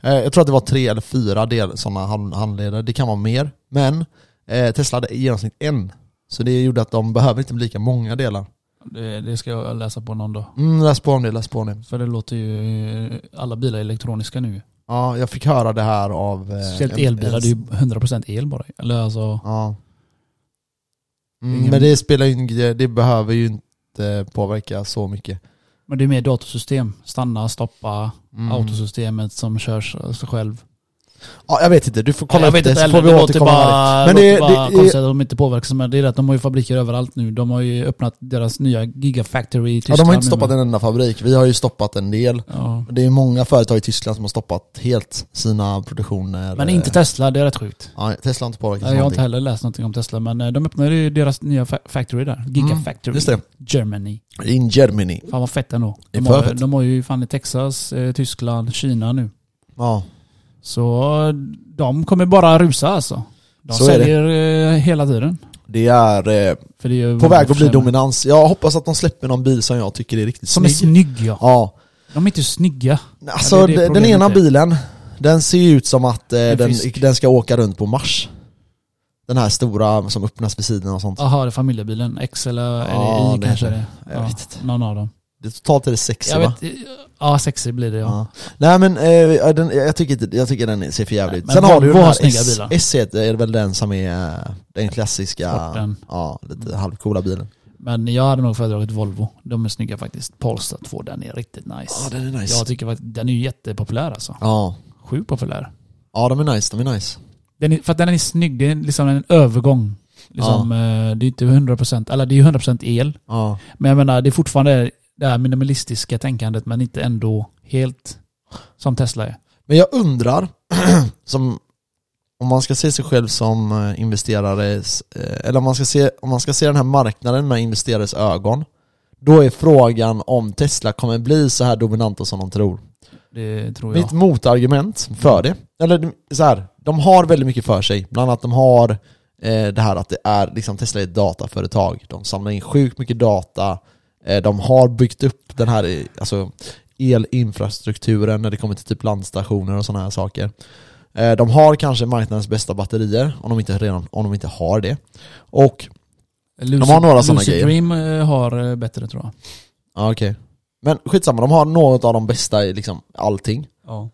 A: Eh, jag tror att det var tre eller fyra del, sådana hand- handledare, det kan vara mer. Men eh, Tesla hade i genomsnitt en. Så det gjorde att de behöver inte bli lika många delar.
B: det. Det ska jag läsa på någon dag.
A: Mm, läs på om det, läs på om det.
B: För det låter ju, eh, alla bilar är elektroniska nu.
A: Ja, jag fick höra det här av... eh,
B: Speciellt
A: en-
B: elbilar,
A: en-
B: det är ju 100% el bara. Eller alltså,
A: Ja.
B: Det är
A: Mm,
B: ingen-
A: men det spelar ju ingen- det, det behöver ju inte påverka så mycket.
B: men det är mer datorsystem. Stanna, stoppa,
A: Mm.
B: autosystemet som körs av sig själv.
A: Ja, jag vet inte, du får kolla
B: jag vet
A: efter
B: inte
A: så
B: heller,
A: får vi
B: det låter
A: återkomma.
B: bara,
A: Men
B: men
A: det-
B: det, låter bara
A: det-
B: konstigt att de inte påverkas. Men det är det att de har ju fabriker överallt nu. De har ju öppnat deras nya gigafactory i
A: Ja,
B: Tyskland.
A: de har
B: nu
A: inte stoppat
B: med-
A: en enda fabrik, vi har ju stoppat en del.
B: Ja.
A: Det är många företag i Tyskland som har stoppat helt sina produktioner.
B: Men inte Tesla, det är rätt sjukt.
A: Ja, Tesla har inte påverkat
B: Jag har inte
A: någonting.
B: heller läst någonting om Tesla, men eh, de öppnade ju deras nya fa- factory där. Gigafactory.
A: Mm, Just det,
B: Germany.
A: in Germany.
B: Fan vad fett ändå.
A: Det är
B: De
A: för
B: har,
A: fett.
B: de har ju fan i Texas, eh, Tyskland, Kina nu.
A: Ja,
B: Så de kommer bara rusa alltså. De
A: Så är det.
B: säljer eh, hela tiden.
A: det är eh,
B: För det är ju
A: på väg att bli
B: försäljning.
A: dominans. Jag hoppas att de släpper någon bil som jag tycker är riktigt
B: Som är
A: snygg.
B: snygg ja.
A: Ja,
B: De är inte snygga.
A: Alltså
B: Ja, det är det
A: den- den
B: problemet
A: ena
B: är.
A: bilen, den ser ju ut som att eh,
B: En
A: den,
B: fisk.
A: den ska åka runt på Mars. Den här stora som öppnas vid sidan och sånt.
B: Jaha, det är familjebilen. X eller
A: Ja,
B: eller I
A: det
B: kanske det
A: heter
B: är.
A: Jag
B: Ja,
A: vet inte.
B: Någon av dem.
A: Det, totalt är det sex
B: Jag
A: va?
B: vet, ja, sexig blir det ja.
A: Ja. Nej men eh, ja, den, jag, tycker inte, jag tycker den ser för jävligt ut.
B: Men
A: Sen har du ju
B: Volvo
A: den
B: har
A: här
B: snygga
A: S,
B: bilar.
A: S är väl den som är eh, den klassiska,
B: Sporten.
A: ja lite halvcoola bilen.
B: Men jag hade nog föredragit Volvo. De är snygga faktiskt. Polestar 2, den är riktigt nice.
A: Ja den är nice.
B: Jag tycker faktiskt, den är ju jättepopulär alltså.
A: Ja.
B: Sjukt populär.
A: ja de är nice, de är nice.
B: Den är, för att den är snygg, det är liksom en övergång. Liksom, eh, Det är inte 100%, eller det är ju 100% el.
A: Ja.
B: Men jag menar, det är fortfarande det här minimalistiska tänkandet men inte ändå helt som Tesla är.
A: Men jag undrar, som, om man ska se sig själv som eh, investerare, s- eh, eller om man, ska se, om man ska se den här marknaden med investerares ögon, då är frågan om Tesla kommer bli så här dominanta som de tror.
B: Det tror jag.
A: Mitt motargument för det, eller så här, de har väldigt mycket för sig. Bland annat de har eh, det här att det är, liksom Tesla är ett dataföretag. De samlar in sjukt mycket data. Eh, de har byggt upp den här eh, alltså, elinfrastrukturen när det kommer till typ landstationer och sådana här saker. Eh, de har kanske marknadens bästa batterier, om de inte, redan, om de inte har det. Och,
B: Lucid,
A: de har några såna
B: Lucid
A: grejer.
B: Dream eh, har eh, bättre tror jag.
A: ja okej. Men skitsamma, de har något av de bästa i liksom allting.
B: Ja.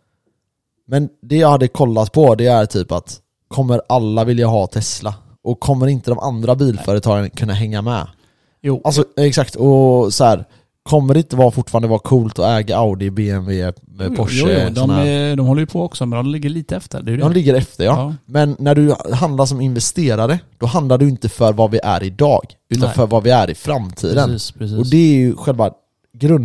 A: Men det jag hade kollat på det är typ att kommer alla vilja ha Tesla? Och kommer inte de andra bilföretagen kunna hänga med?
B: Jo,
A: Alltså exakt, och så här, kommer det inte vara fortfarande vara coolt att äga Audi, BMW, eh, Porsche?
B: Mm, jo, jo, de,
A: såna här?
B: är, de håller ju på också men de ligger lite efter. Det är ju det.
A: de ligger efter ja.
B: Ja.
A: Men när du handlar som investerare, då handlar du inte för vad vi är idag, utan
B: Nej.
A: för vad vi är i framtiden.
B: Precis, precis.
A: Och det är ju själva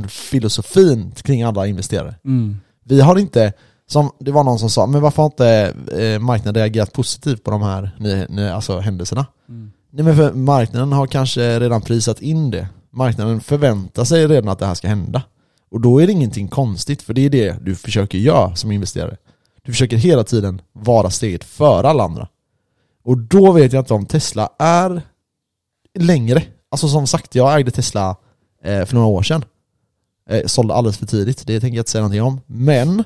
A: grundfilosofin kring alla investerare.
B: mm.
A: Vi har inte, som det var någon som sa, men varför har inte eh, marknaden reagerat positivt på de här ny, ny, alltså händelserna?
B: Mm.
A: Nej men för marknaden har kanske redan prisat in det. Marknaden förväntar sig redan att det här ska hända. Och då är det ingenting konstigt, för det är det du försöker göra som investerare. Du försöker hela tiden vara steget före alla andra. Och då vet jag inte om Tesla är längre. Alltså som sagt, jag ägde Tesla eh, för några år sedan. Eh, sålde alldeles för tidigt, det tänker jag inte säga någonting om. Men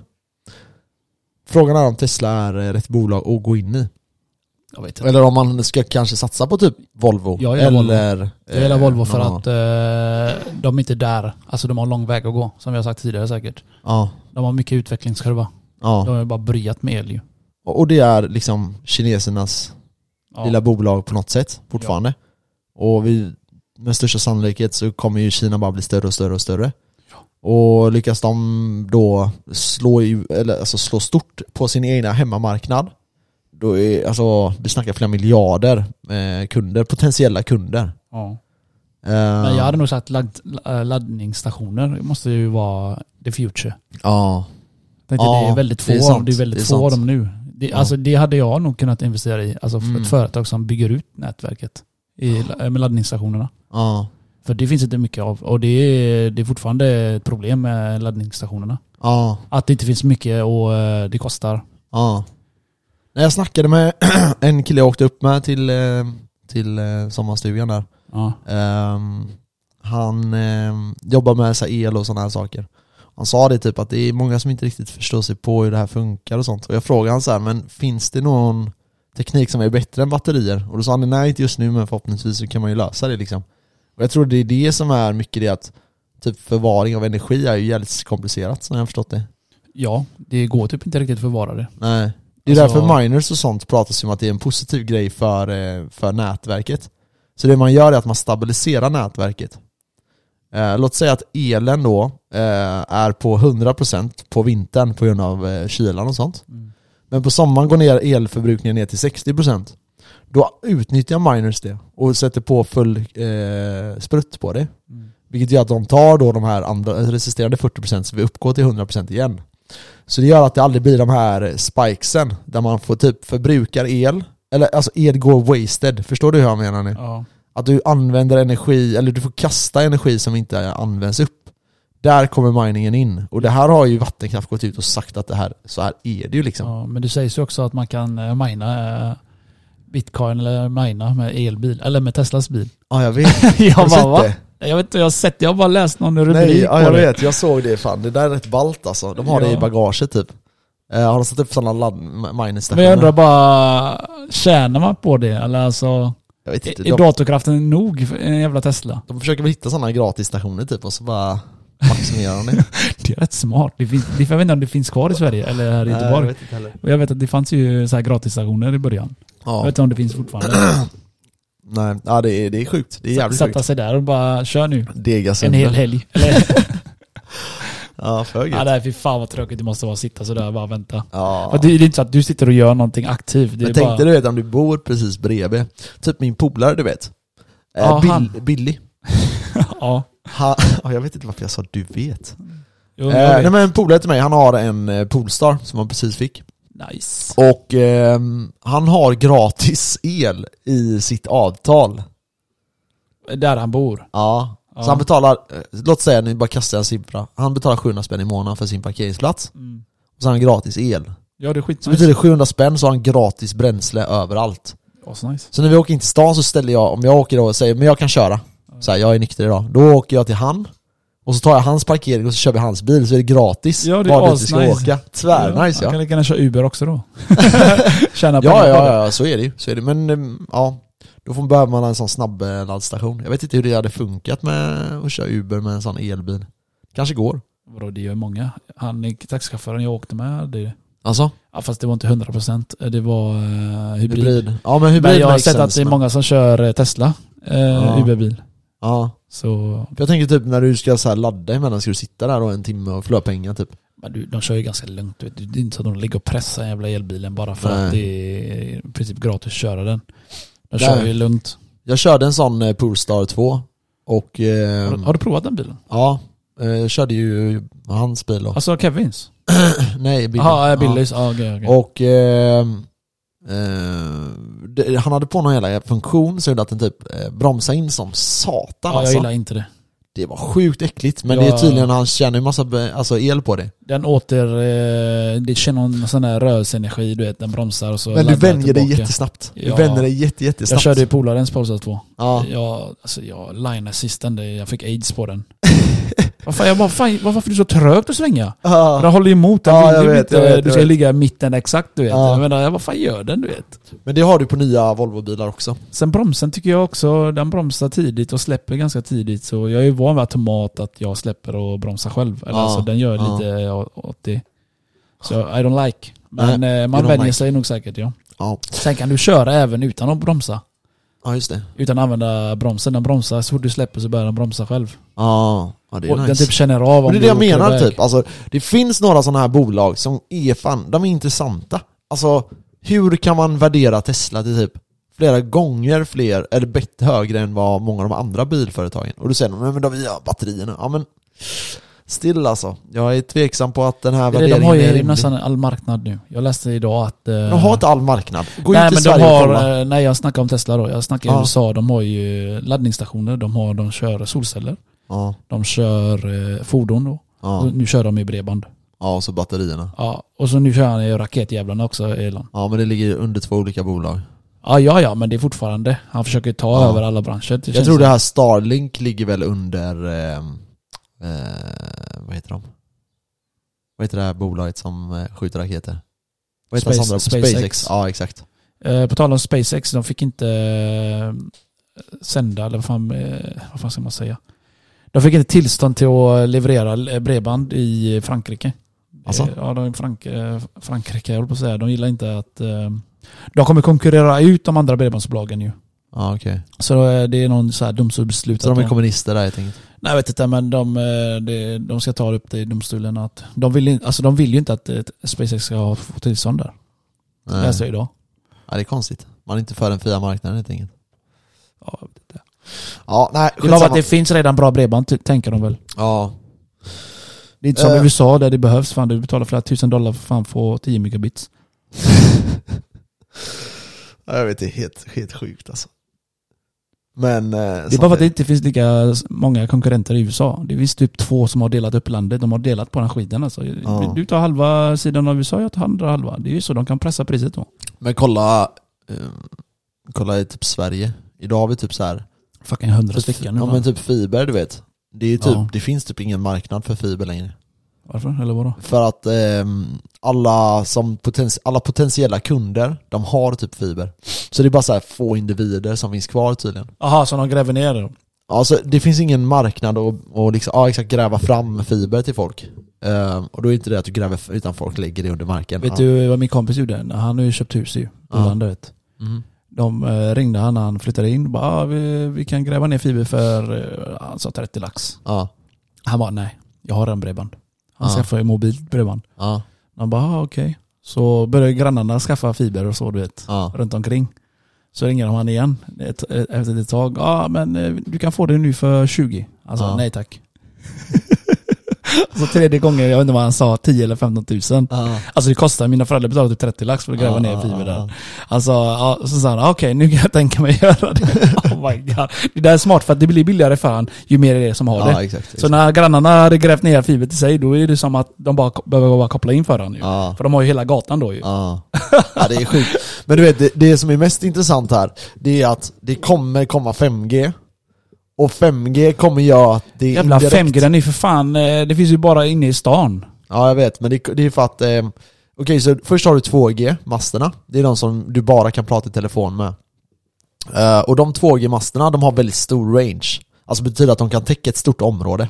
A: frågan är om Tesla är eh, rätt bolag att gå in i.
B: Jag vet inte.
A: Typ. Eller om man ska kanske satsa på typ Volvo.
B: Jag gillar
A: eller... eh,
B: Jag gillar Volvo för
A: någon annan.
B: att eh, de är inte där. Alltså de har lång väg att gå, som jag har sagt tidigare säkert.
A: Ja,
B: De har mycket utvecklingskurva.
A: ja.
B: De har ju bara bryat med el ju.
A: Och och det är liksom kinesernas
B: Ja.
A: lilla bolag på något sätt fortfarande. Och vi, med största sannolikhet så kommer ju Kina bara bli större och större och större. Och lyckas de då slå, i, eller alltså slå stort på sin egna hemmamarknad, då är, alltså, vi snackar flera miljarder eh, kunder, potentiella kunder.
B: Ja.
A: Eh,
B: Men jag hade nog sagt ladd, la- laddningsstationer måste ju vara the future.
A: Ja,
B: Tänkte,
A: Ja,
B: det är väldigt få,
A: det är
B: det är
A: sant.
B: det är väldigt
A: Det är
B: få av
A: sant.
B: dem nu. Det,
A: Ja.
B: alltså, det hade jag nog kunnat investera i. Alltså för
A: Mm.
B: ett företag som bygger ut nätverket i, med laddningsstationerna.
A: ja,
B: För det finns inte mycket av. Och det är, det är fortfarande ett problem med laddningsstationerna.
A: ja.
B: Att det inte finns mycket och eh, det kostar.
A: Ja. När jag snackade med en kille jag åkte upp med till, eh, till eh, sommarstugan där.
B: Ja.
A: Ehm, Han eh, jobbar med så här el och sådana här saker. Han sa det typ att det är många som inte riktigt förstår sig på hur det här funkar och sånt. Och jag frågade han så här, men finns det någon teknik som är bättre än batterier? Och då sa han nej inte just nu men förhoppningsvis så kan man ju lösa det liksom. Och jag tror det är det som är mycket det att typ förvaring av energi är ju jävligt komplicerat som jag har förstått det.
B: ja, det går typ inte riktigt att förvara det.
A: Nej. Det är
B: Alltså-
A: därför miners och sånt pratas ju om att det är en positiv grej för, eh, för nätverket. Så det man gör är att man stabiliserar nätverket. Eh, låt säga att elen då eh, är på 100% på vintern på grund av eh, kylan och sånt.
B: Mm.
A: Men på sommaren går ner elförbrukningen ner till 60%. Då utnyttjar miners det och sätter på full eh, sprutt på det.
B: Mm.
A: Vilket gör att de tar då de här andra resisterande 40% så vi uppgår till 100% igen. Så det gör att det aldrig blir de här spikesen där man får typ förbrukar el, eller alltså el går wasted, förstår du hur jag menar nu?
B: Ja.
A: Att du använder energi, eller du får kasta energi som inte används upp. Där kommer miningen in. Och det här har ju Vattenkraft gått ut och sagt att det här, så här är det ju liksom.
B: ja, men det sägs ju också att man kan eh, mina eh, bitcoin eller mina med elbil, eller med Teslas bil.
A: Ja, jag vet. Har
B: jag
A: du
B: bara
A: sett
B: va?
A: det?
B: Jag vet inte, jag har sett, jag har bara läst någon rubrik
A: Nej, ja, jag
B: på det.
A: vet. Jag såg det fan. Det där är rätt ballt alltså. De har det i
B: Ja.
A: bagaget typ. Eh, har de satt upp sådana land- minerstationer?
B: Men jag undrar bara, tjänar man på det? Eller alltså,
A: Jag vet inte.
B: är, är
A: De,
B: datorkraften nog för en jävla Tesla?
A: de försöker väl hitta sådana gratisstationer typ och så bara maximerar de det.
B: Det är rätt smart. Det finns, det- jag vet inte om det finns kvar i Sverige eller här i
A: Nej, jag
B: Göteborg.
A: vet inte heller.
B: Och jag vet att det fanns ju så här gratisstationer i början. Jag
A: Ja,
B: vet inte om det finns fortfarande.
A: nej, ja det, är, det är sjukt. Det är jävligt
B: Sätta
A: sjukt.
B: sig där och bara kör nu.
A: Dega
B: En
A: sönder.
B: hel helg. Eller,
A: Ja, för
B: ja,
A: gött.
B: nej, fy fan vad tråkigt det måste vara att sitta sådär och bara vänta.
A: Ja.
B: Och det, det är inte så att du sitter och gör någonting aktivt. Det är
A: Men tänkte
B: bara,
A: du vet om du bor precis bredvid, typ min polare du vet. Eh,
B: Ja,
A: Bill,
B: han.
A: Billy.
B: Ja,
A: Han, ja, jag vet inte varför jag sa du vet.
B: jo,
A: eh,
B: jag
A: nej
B: vet.
A: men en polare till mig, han har en eh, Polestar som han precis fick.
B: Nice.
A: Och ehm, han har gratis el i sitt avtal.
B: Där han bor.
A: Ja. Så
B: Ja.
A: han betalar, eh, låt säga nu bara kastar jag en siffra, han betalar 700 spänn i månaden för sin parkeringsplats.
B: Mm.
A: Och så har han gratis el.
B: Ja, det är
A: Så
B: skitnice.
A: betyder det 700 spänn så har han gratis bränsle överallt.
B: Asnice.
A: Så när vi åker in till stan så ställer jag, om jag åker då och säger men jag kan köra, så här, jag är nykter idag. Då åker jag till han, och så tar jag hans parkering och så kör vi hans bil så är det gratis
B: Ja, det är
A: var dit vi ska
B: asnice.
A: åka. Tvärnice
B: Han
A: ja.
B: kan lika gärna köra Uber också då. Tjäna
A: Ja,
B: pengar på
A: ja,
B: det.
A: ja, så är det ju. Så är det. Men ehm, ja, då får, behöver man en sån snabb eh, laddstation. Jag vet inte hur det hade funkat med att köra Uber med en sån elbil. Kanske går.
B: Vadå, det gör många. Han är taxichauffören jag åkte med, det,
A: Alltså,
B: ja, fast det var inte 100%, det var eh, hybrid.
A: hybrid. Ja men hybrid
B: Men jag har
A: makes
B: sett
A: sense,
B: att det är
A: men-
B: många som kör eh, Tesla, eh,
A: Ja.
B: Uberbil.
A: Ja.
B: Så,
A: För jag tänker typ när du ska så här ladda emellan ska du sitta där då en timme och förlora pengar typ.
B: men du, de kör ju ganska lugnt. Vet du. Det är inte så att de ligger och pressar den jävla elbilen bara för
A: Nej.
B: att det är i princip gratis att köra den. De
A: Nej.
B: kör ju lugnt.
A: Jag körde en sån eh, Polestar 2 och ehm,
B: Har, har du provat den bilen?
A: ja, eh, jag körde ju hans bil då.
B: Alltså Kevins?
A: Nej, Billy.
B: Jaha, eh, Billys. Ja, okej, okej.
A: Och ehm, eh, det, han hade på någon jävla funktion så gjorde att den typ eh, bromsade in som satan
B: Ja, jag
A: alltså.
B: gillar inte det.
A: Det var sjukt äckligt, men det är
B: Ja.
A: tydligen, han tjänar ju massa be- alltså, el på det.
B: Den åter... Eh, det känner någon sån där rörelseenergi, du vet, den bromsar och så
A: Men du
B: laddar den
A: vänjer dig
B: tillbaka.
A: jättesnabbt. Du
B: Ja.
A: vänjer dig jätte, jättesnabbt.
B: Jag körde ju polarens Polestar 2.
A: Ja.
B: Jag, alltså jag line assisten, det- jag fick aids på den. vad fan, jag bara, fan, vad- varför är du så trög att svänga?
A: Ja.
B: Den håller emot, den
A: Ja,
B: vill
A: jag
B: ju
A: vet,
B: inte,
A: jag vet, jag
B: du ska
A: vet.
B: ligga i mitten exakt du vet.
A: Ja.
B: Jag menar, jag, vad fan gör den du vet?
A: Men det har du på nya Volvo-bilar också.
B: Sen bromsen tycker jag också, den bromsar tidigt och släpper ganska tidigt. Så jag är ju van vid automat att jag släpper och bromsar själv. Eller
A: Ja,
B: alltså, den gör
A: ja.
B: lite å- åt det. Så I don't like. Men eh,
A: you
B: man
A: don't
B: vänjer
A: like.
B: sig nog säkert ja.
A: Ja,
B: Sen kan du köra även utan att bromsa.
A: ja just det.
B: Utan att använda bromsen. Den bromsar, så fort du släpper så börjar den bromsa själv.
A: Ja, ja det är
B: och
A: nice.
B: Den typ känner av
A: Men
B: om
A: det är
B: du
A: det jag
B: åker
A: menar
B: iväg.
A: typ, alltså, det finns några sådana här bolag som är fan, de är intressanta. Alltså, hur kan man värdera Tesla till typ flera gånger fler, eller bättre högre än vad många av de andra bilföretagen? Och du säger de, "Nej, men de gör batterierna. Ja men, still alltså. Jag är tveksam på att den här
B: Det är det, de
A: värderingen
B: har
A: är
B: ju
A: rimlig.
B: nästan all marknad nu. Jag läste idag att... eh,
A: De har inte all marknad. Gå
B: nej,
A: ut i
B: men
A: Sverige
B: de
A: och kolla.
B: har, eh, Nej, jag snackar om Tesla då. Jag snackar
A: Ja.
B: i USA. De har ju laddningsstationer. De, har, de kör solceller.
A: Ja,
B: De kör eh, fordon då.
A: ja,
B: Och nu kör de i bredband.
A: ja, och så batterierna.
B: Ja, och så nu kör han i raketjävlarna också, Elon.
A: Ja men det ligger ju under två olika bolag.
B: Ja, ja, ja, men det är fortfarande. Han försöker ta
A: Ja.
B: över alla branscher. Det
A: Jag
B: känns
A: tror
B: som-
A: det här Starlink ligger väl under, ehm, eh, vad heter de? Vad heter det här bolaget som eh, skjuter raketer? Vad heter
B: Space-
A: Sandra?
B: SpaceX.
A: Ja exakt.
B: Eh, på tal om SpaceX, de fick inte eh, sända, eller vad fan, eh, vad fan ska man säga? De fick inte tillstånd till att leverera eh, bredband i Frankrike.
A: Alltså?
B: Eh, Ja, de, Frank, eh, Frankrike, jag håller på att säga. De gillar inte att... Eh, de kommer konkurrera ut de andra bredbandsbolagen ju.
A: Ja okej.
B: Så eh, det är någon så här domstolsbeslut.
A: Så
B: att
A: de är kommunister där helt enkelt?
B: Nej, jag vet inte, men de, eh, det- de ska ta upp det i domstolen. Att de, vill, in- alltså, de vill ju inte att eh, SpaceX ska ha- få tillstånd där. Det
A: Nej.
B: läste jag idag.
A: Ja det är konstigt. Man är inte för den fria marknaden helt enkelt.
B: Ja, jag vet inte.
A: Ja nej,
B: Det är bara
A: skitsamma.
B: att det finns redan bra bredband, ty- tänker de väl.
A: Ja.
B: Det är inte som i
A: Eh.
B: USA där det behövs. Fan, du betalar flera tusen dollar för fan få 10 megabits.
A: Ja, Jag vet, det är helt, helt sjukt alltså. Men... eh,
B: Det är
A: samtidigt-
B: bara för att det inte finns lika s- många konkurrenter i USA. Det finns typ två som har delat upp landet. De har delat på den skiten alltså.
A: Ja.
B: Du tar halva sidan av USA, jag tar andra halva. Det är ju så de kan pressa priset då.
A: Men kolla, eh, kolla i typ Sverige. Idag har vi typ så här
B: Fucking hundra
A: Typ-
B: stycken nu.
A: Ja
B: va?
A: men typ fiber du vet. Det, är ju typ,
B: Ja.
A: det finns typ ingen marknad för fiber längre.
B: Varför? Eller vadå?
A: För att ehm, alla, som poten- alla potentiella kunder, de har typ fiber. Så det är bara så här få individer som finns kvar tydligen.
B: Jaha, så de gräver ner det?
A: Alltså det finns ingen marknad att och liksom, ja, exakt, gräva fram fiber till folk. Ehm, och då är inte det att du gräver, f- utan folk lägger det under marken.
B: Vet
A: ja.
B: du vad min kompis gjorde? Han har ju köpt hus ju, på
A: Ja.
B: landet. Vet.
A: Mm.
B: De eh, ringde han när han flyttade in. Bara, ah, vi, vi kan gräva ner fiber för eh, han sa 30 lax.
A: Ja,
B: Han bara nej, jag har en bredband. Han
A: Ja.
B: skaffade ju mobilt bredband.
A: ja,
B: Han bara ah, okej. Så började grannarna skaffa fiber och så du vet.
A: ja.
B: Runt omkring. Så ringer han igen ett, ett, efter ett tag. Ja ah, men eh, du kan få det nu för 20. Han sa
A: Ja.
B: nej tack. så tredje gången, jag vet inte vad han sa, 10 eller 15 tusen.
A: Ja.
B: Alltså det kostar, mina föräldrar betalade typ 30 lax för att gräva
A: Ja,
B: ner
A: ja,
B: fiber
A: ja, ja.
B: där. Alltså, ja, så sa han, okej nu kan jag tänka mig göra det. oh my god. Det där är smart för att det blir billigare för han ju mer det är som har
A: Ja,
B: det.
A: exakt, exakt.
B: Så när grannarna hade grävt ner fiber till sig, då är det som att de bara ko- behöver bara koppla in för han ju.
A: Ja.
B: För de har ju hela gatan då ju.
A: Ja. ja, det är sjukt. Men du vet, det, det som är mest intressant här, det är att det kommer komma 5G. Och 5G kommer göra att det är
B: Jävla
A: indirekt-
B: 5G, den är ju för fan, eh, det finns ju bara inne i stan.
A: Ja, jag vet. Men det, det är för att... Eh, Okej, så först har du 2G-masterna. Det är de som du bara kan prata i telefon med. Eh, och de 2G-masterna, de har väldigt stor range. Alltså betyder att de kan täcka ett stort område.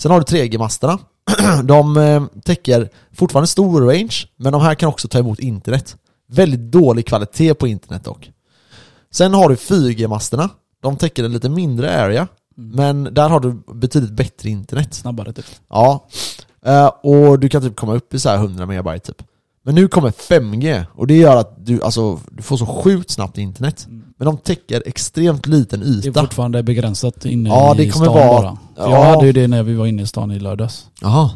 A: Sen har du 3G-masterna. De eh, täcker fortfarande stor range, men de här kan också ta emot internet. Väldigt dålig kvalitet på internet dock. Sen har du 4G-masterna. De täcker en lite mindre area, men där har du betydligt bättre internet.
B: Snabbare typ.
A: Ja. Eh, och du kan typ komma upp i så här 100 megabyte typ. Men nu kommer 5G och det gör att du, alltså, du får så sjukt snabbt internet. Men de täcker extremt liten
B: Mm. Det är
A: yta.
B: fortfarande begränsat inne
A: Ja, det
B: i
A: kommer
B: stan
A: vara-
B: bara. För
A: Ja.
B: Jag hade ju det när vi var inne i stan i lördags.
A: Jaha.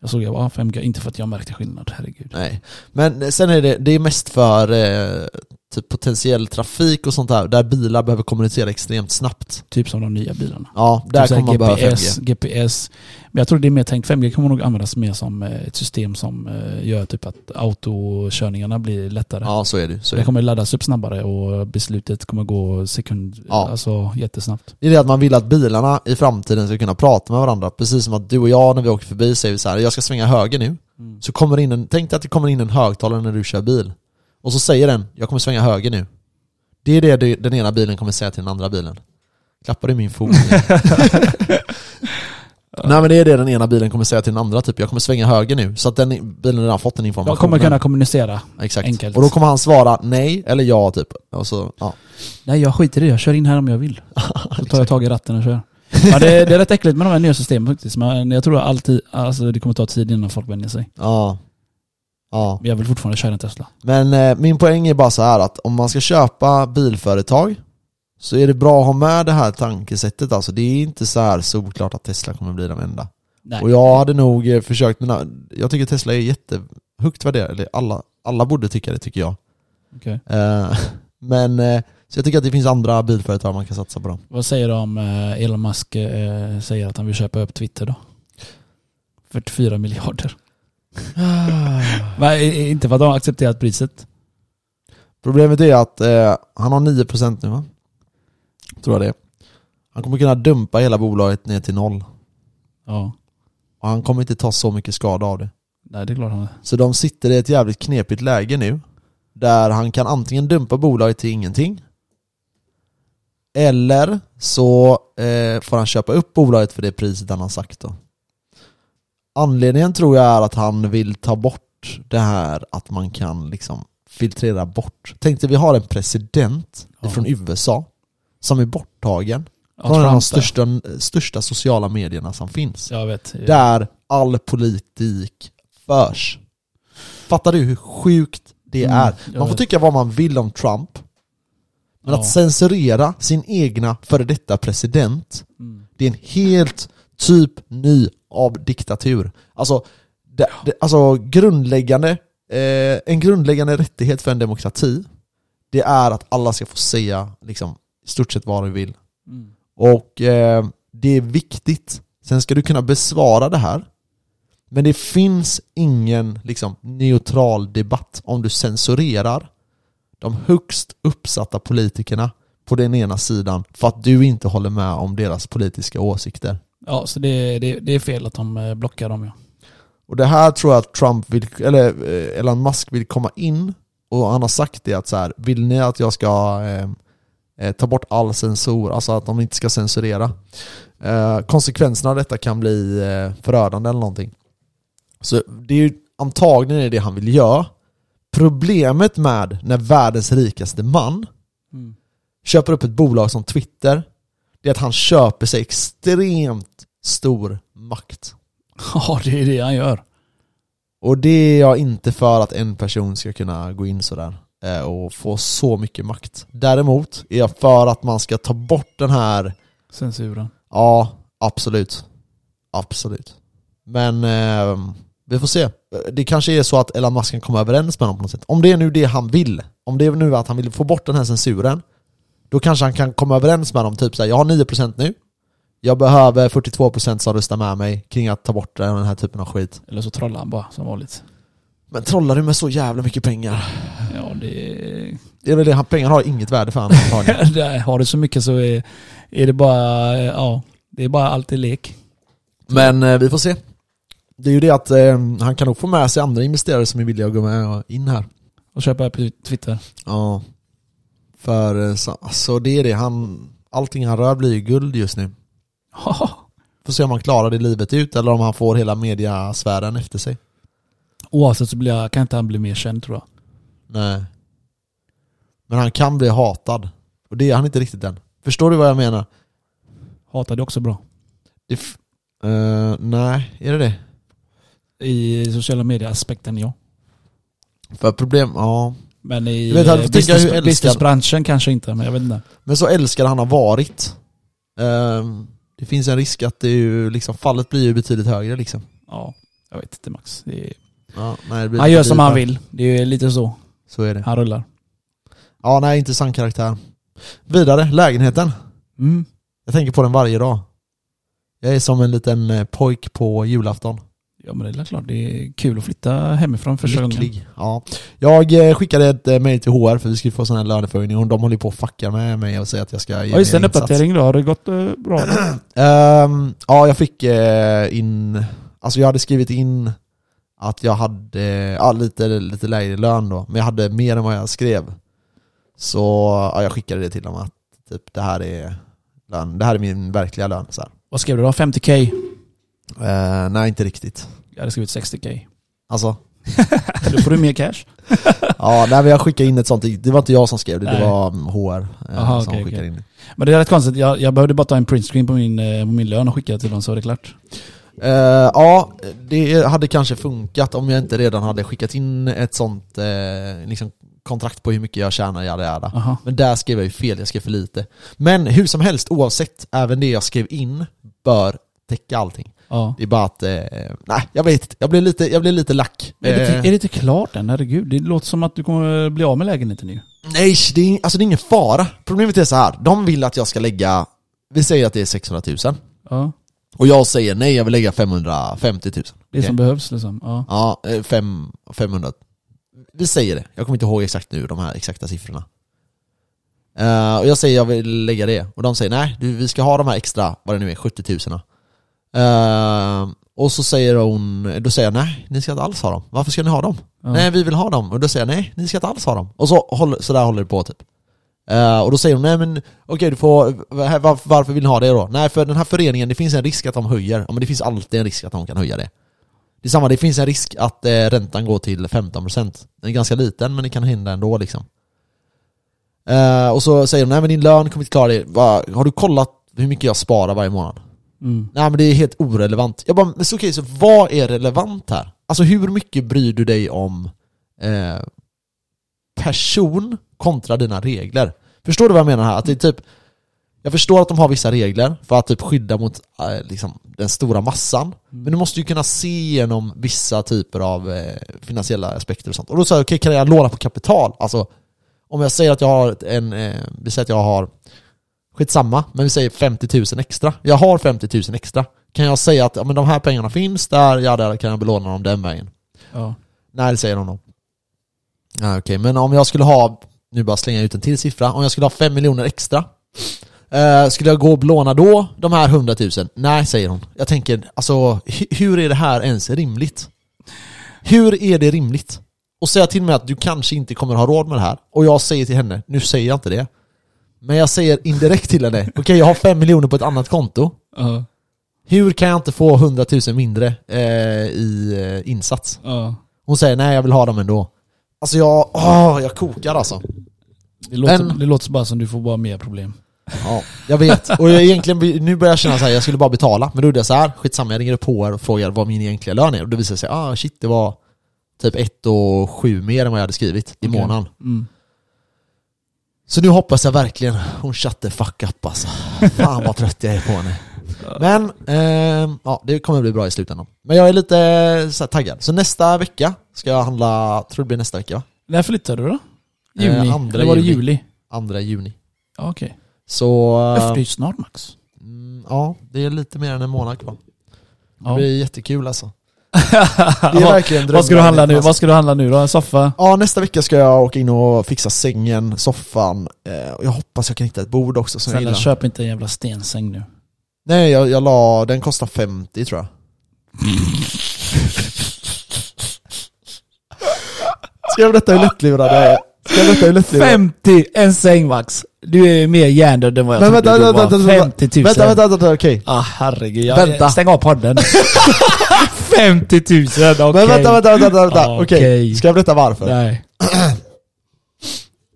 B: Jag såg jag bara, ah, 5G, inte för att jag märkte skillnad, herregud.
A: Nej. Men sen är det, det är mest för eh, typ potentiell trafik och sånt där, där bilar behöver kommunicera extremt snabbt.
B: Typ som de nya bilarna.
A: Ja, där
B: typ så här
A: kommer man behöva 5G.
B: GPS. Men jag tror det är mer tänkt, 5G kommer nog användas mer som eh, ett system som eh, gör typ att autokörningarna blir lättare.
A: Ja, så är det ju, så är
B: det
A: det.
B: kommer laddas upp snabbare och beslutet kommer gå sekund,
A: Ja.
B: alltså jättesnabbt.
A: det är det att man vill att bilarna i framtiden ska kunna prata med varandra. Precis som att du och jag när vi åker förbi säger vi så här, jag ska svänga höger nu.
B: Mm.
A: Så kommer det in en, tänk dig att det kommer in en högtalare när du kör bil. Och så säger den, jag kommer svänga höger nu. Det är det du- den ena bilen kommer säga till den andra bilen. Klappar du min fot? Nej men det är det den ena bilen kommer säga till den andra, typ jag kommer svänga höger nu. Så att den bilen redan fått den informationen.
B: De kommer kunna kommunicera.
A: Exakt.
B: enkelt.
A: Och då kommer han svara nej eller ja typ. Och så, ja.
B: Nej jag skiter i det, jag kör in här om jag vill. Så tar jag tag i ratten och kör. Ja, det, det är rätt äckligt med de här nya systemen faktiskt. Men jag tror alltid, alltså det kommer ta tid innan folk vänjer sig.
A: Ja. Ja.
B: Men jag vill fortfarande köra en Tesla.
A: Men eh, min poäng är bara så här att om man ska köpa bilföretag så är det bra att ha med det här tankesättet alltså. Det är inte så här solklart att Tesla kommer bli de enda.
B: Nej.
A: Och jag hade nog eh, försökt, mina, jag tycker Tesla är jättehögt värderad, eller alla, alla borde tycka det tycker jag.
B: Okej.
A: Eh, men, eh, så jag tycker att det finns andra bilföretag man kan satsa på då.
B: Vad säger du om eh, Elon Musk eh, säger att han vill köpa upp Twitter då? 44 miljarder. Men, eh, inte för att de har accepterat priset.
A: Problemet är att eh, han har 9% nu va? Tror jag det. Han kommer kunna dumpa hela bolaget ner till noll.
B: Ja,
A: Och han kommer inte ta så mycket skada av det.
B: nej det är klart han
A: Så de sitter i ett jävligt knepigt läge nu. Där han kan antingen dumpa bolaget till ingenting. Eller så eh, får han köpa upp bolaget för det priset han har sagt då. Anledningen tror jag är att han vill ta bort det här att man kan liksom filtrera bort. Tänk dig vi har en president
B: Ja.
A: från USA som är borttagen
B: Ja,
A: från en av de
B: Trump,
A: största, största sociala medierna som finns.
B: Jag vet.
A: Där all politik förs. Fattar du hur sjukt det
B: Mm,
A: är?
B: jag
A: Man får
B: vet.
A: tycka vad man vill om Trump. Men
B: Ja.
A: att censurera sin egna före detta president,
B: Mm.
A: det är en helt typ ny av diktatur. Alltså, det, det, alltså grundläggande, eh, en grundläggande rättighet för en demokrati, det är att alla ska få säga liksom, i stort sett vad de vill.
B: Mm.
A: Och eh, det är viktigt. Sen ska du kunna besvara det här. Men det finns ingen liksom, neutral debatt om du censurerar de högst uppsatta politikerna på den ena sidan för att du inte håller med om deras politiska åsikter.
B: Ja, så det, det, det är fel att de eh, blockar dem ja.
A: Och det här tror jag att Trump vill, eller eh, Elon Musk vill komma in och han har sagt det att så här, vill ni att jag ska eh, eh, ta bort all censur, alltså att de inte ska censurera. Eh, konsekvenserna av detta kan bli eh, förödande eller någonting. Så det är ju antagligen är det han vill göra. Problemet med när världens rikaste man
B: Mm.
A: köper upp ett bolag som Twitter, det är att han köper sig extremt stor makt.
B: Ja, det är det han gör.
A: Och det är jag inte för att en person ska kunna gå in sådär eh, och få så mycket makt. Däremot är jag för att man ska ta bort den här,
B: Censuren.
A: ja absolut. Absolut. Men eh, vi får se. Det kanske är så att Elon Musk kan komma överens med honom på något sätt. Om det är nu det han vill, om det är nu att han vill få bort den här censuren, då kanske han kan komma överens med dem, typ såhär, jag har 9% nu, jag behöver 42% som röstar med mig kring att ta bort den här typen av skit.
B: Eller så trollar han bara som vanligt.
A: Men trollar du med så jävla mycket pengar?
B: Ja, det...
A: Det är väl det, han- pengarna har inget värde för honom antagligen.
B: Där har du så mycket så är, är det bara, eh, ja, det är bara alltid lek.
A: Men eh, vi får se. Det är ju det att eh, han kan nog få med sig andra investerare som är villiga att gå med och in här.
B: Och köpa på Twitter.
A: Ja. För eh, så, alltså det är det, han, allting han rör blir ju guld just nu. Får se om han klarar det livet ut eller om han får hela mediasfären efter sig.
B: Oavsett så blir jag, kan inte han bli mer känd tror jag.
A: Nej. Men han kan bli hatad. Och det är han inte riktigt än. Förstår du vad jag menar?
B: Hatar det också bra.
A: Det f- eh, nej, är det det?
B: I sociala medier-aspekten ja.
A: För problem, ja.
B: Men i
A: Du vet, jag
B: eh,
A: tänker hur älskad-
B: businessbranschen kanske inte, men jag vet inte.
A: Men så älskad han har varit. Ehm, det finns en risk att det är ju, liksom, fallet blir ju betydligt högre liksom.
B: Ja, jag vet inte Max. Det är,
A: Ja, nej, det blir
B: han gör
A: lite
B: som han
A: dyrare.
B: vill. Det är lite så.
A: Så är det.
B: Han rullar.
A: Ja, nej, intressant karaktär. Vidare, lägenheten.
B: Mm.
A: Jag tänker på den varje dag. Jag är som en liten eh, pojk på julafton.
B: Ja men det är klart, det är kul att flytta hemifrån första gången.
A: Lycklig. Ja. Jag eh, skickade ett eh, mail till HR för vi skulle få sån här löneförhöjning och de håller ju på och fuckar med mig och säger att jag ska ge
B: Ja just
A: mig
B: en
A: insats.
B: uppdatering då, har det gått eh, bra?
A: Ehm, ja, jag fick eh, in... Alltså jag hade skrivit in att jag hade eh, ja, lite, lite lägre lön då, men jag hade mer än vad jag skrev. Så ja, jag skickade det till dem att typ, det här är lön, det här är min verkliga lön. Så här.
B: Vad skrev du då? 50k?
A: Eh, nej, inte riktigt.
B: Jag hade skrivit 60k.
A: Alltså,
B: Då får du mer cash.
A: ja, nej, men jag skickade in ett sånt, det var inte jag som skrev det, det
B: Nej.
A: var mm, HR eh,
B: Aha,
A: som
B: okej,
A: skickade
B: okej.
A: in det.
B: Men det är rätt konstigt, jag, jag behövde bara ta en printscreen på min, eh, på min lön och skicka till dem så var det klart.
A: Eh, ja, det hade kanske funkat om jag inte redan hade skickat in ett sånt eh, liksom kontrakt på hur mycket jag tjänar, jada jada.
B: Aha.
A: Men där skrev jag ju fel, jag skrev för lite. Men hur som helst, oavsett, även det jag skrev in bör täcka allting.
B: Ja.
A: Det är bara att, eh, nej, jag vet inte. Jag blev lite, jag blev lite lack.
B: Är, det,
A: Eh,
B: är det inte klart än? Herregud, det låter som att du kommer bli av med lägenheten nu.
A: Nej, det är, alltså det är ingen fara. Problemet är så här. de vill att jag ska lägga, vi säger att det är 600 000.
B: Ja.
A: Och jag säger nej, jag vill lägga 550 000.
B: Det
A: Okej.
B: som behövs liksom. Ja.
A: Ja, eh, fem, 500. Vi säger det. Jag kommer inte ihåg exakt nu de här exakta siffrorna. Eh, och jag säger jag vill lägga det. Och de säger nej, du, vi ska ha de här extra, vad det nu är, 70 000. Eh, och så säger hon, då säger jag nej, ni ska inte alls ha dem. Varför ska ni ha dem?
B: Ja.
A: Nej, vi vill ha dem. Och då säger jag nej, ni ska inte alls ha dem. Och så håller, så där håller det på typ. Eh, och då säger hon, nej men okej du får, va- va- varför vill ni ha det då? Nej för den här föreningen, det finns en risk att de höjer. Ja men det finns alltid en risk att de kan höja det. Det är samma, det finns en risk att eh, räntan går till 15%. Den är ganska liten men det kan hända ändå liksom. Eh, och så säger de, nej men din lön kommer inte klara det. Va, har du kollat hur mycket jag sparar varje månad?
B: Mm.
A: Nej men det är helt orelevant. Jag bara, men så okej, så vad är relevant här? Alltså hur mycket bryr du dig om eh, person kontra dina regler? Förstår du vad jag menar här? Att det är typ, jag förstår att de har vissa regler för att typ skydda mot eh, liksom, den stora massan. Men du måste ju kunna se igenom vissa typer av eh, finansiella aspekter och sånt. Och då säger jag, okej kan jag låna på kapital? Alltså, om jag säger att jag har en, eh, vi säger att jag har Skitsamma, men vi säger 50 000 extra. Jag har 50 000 extra. Kan jag säga att ja, men de här pengarna finns där, ja där kan jag belåna dem den vägen.
B: Ja.
A: Nej, det säger de nog. Ja, Okej, men om jag skulle ha, nu bara slänga ut en till siffra, om jag skulle ha 5 miljoner extra, eh, skulle jag gå och belåna då de här 100 000? Nej, säger hon. Jag tänker, alltså hu- hur är det här ens rimligt? Hur är det rimligt? Och säga till mig att du kanske inte kommer ha råd med det här, och jag säger till henne, nu säger jag inte det, men jag säger indirekt till henne, okej jag har 5 miljoner på ett annat konto,
B: Ja.
A: hur kan jag inte få 100 000 mindre eh, i eh, insats?
B: Ja.
A: Hon säger nej, jag vill ha dem ändå. Alltså jag, åh, jag kokar alltså.
B: Det, låter,
A: Men-
B: det låter bara som du får bara mer problem.
A: Ja, jag vet. Och jag egentligen, nu börjar jag känna så här, jag skulle bara betala. Men då gjorde jag så här, skitsamma, jag ringer upp HR och frågar vad min egentliga lön är. Och då visade det sig, ah shit, det var typ 1 och 7 mer än vad jag hade skrivit i
B: Okej.
A: månaden.
B: Mm.
A: Så nu hoppas jag verkligen hon shut the fuck up alltså. Fan vad trött jag är på henne. Men, ehm, ja det kommer bli bra i slutändan. Men jag är lite eh, så här, taggad. Så nästa vecka ska jag handla, tror det blir nästa vecka va?
B: När flyttar du då?
A: Eh,
B: Juni?
A: andra
B: Eller var det
A: juli.
B: juli?
A: Andra juni.
B: Ja, okej.
A: Så... eh,
B: Okay. Det är ju snart Max.
A: Mm, ja, det är lite mer än en månad kvar. Det
B: Ja.
A: blir jättekul alltså. Det är
B: Vad-
A: verkligen
B: Vad ska du handla nu?
A: drömmen.
B: Vad ska du handla nu då? En soffa?
A: Ja, nästa vecka ska jag åka in och fixa sängen, soffan. Eh, och jag hoppas jag kan hitta ett bord också som jag
B: Snälla
A: gillar.
B: köp inte en jävla stensäng nu.
A: Nej, jag, jag la... Den kostar 50 tror jag. ska jag berätta hur lättlurad jag är? Ska jag berätta hur lättlurad jag är?
B: 50! En säng Max. Du är mer hjärndöd än vad jag
A: Men
B: trodde
A: vänta,
B: du
A: vänta,
B: var.
A: vänta, vänta.
B: 50 000.
A: Vänta, vänta, vänta, okej.
B: Ah, herregud. Jag,
A: Vänta.
B: Stäng av podden. 50 000, okej.
A: Men vänta, vänta, vänta, vänta, vänta.
B: Ja,
A: okej.
B: okej.
A: Ska jag berätta varför? Nej,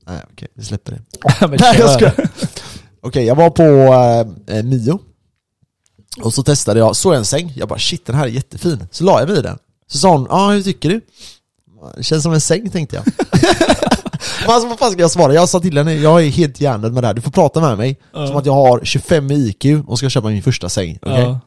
B: Nej.
A: okej, vi släpper det.
B: Men
A: Nej jag
B: kör.
A: skojar. Okej, jag var på eh, eh, Mio. Och så testade jag, såg en säng, jag bara shit den här är jättefin. Så la jag mig i den. Så sa hon, ja ah, hur tycker du? Det känns som en säng tänkte jag. Men alltså, vad fan ska jag svara? Jag sa till henne, jag är helt hjärndöd med det här, du får prata med mig.
B: Ja.
A: Som att jag har 25 i IQ och ska köpa min första säng. okej?
B: Ja.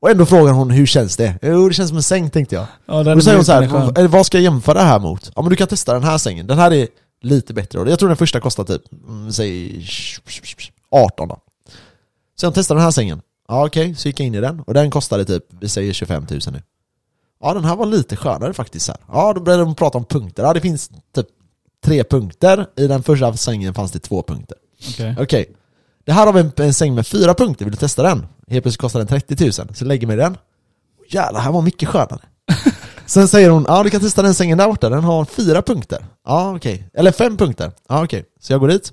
A: Och ändå frågar hon, hur känns det? Jo det känns som en säng tänkte jag.
B: Ja, den
A: Då säger hon
B: är
A: så här,
B: skön.
A: "Vad- eller vad ska jag jämföra det här mot? Ja men du kan testa den här sängen, den här är lite bättre. Och Jag tror den första kostar typ, mm, säg 18 då. Så jag testade den här sängen. Ja okej, så gick jag in i den och den kostade typ, vi säger 25 000 nu. Ja den här var lite skönare faktiskt. Så här. Ja då började de prata om punkter. Ja det finns typ tre punkter. I den första sängen fanns det två punkter.
B: Okej.
A: Okej. Det här har vi en, en säng med fyra punkter, vill du testa den? Helt plötsligt kostar den 30 000, så lägger mig i den. Jävlar, här var mycket skönare. Sen säger hon, ja du kan testa den sängen där borta, den har fyra punkter. Ja okej, eller fem punkter. Ja okej, så jag går dit.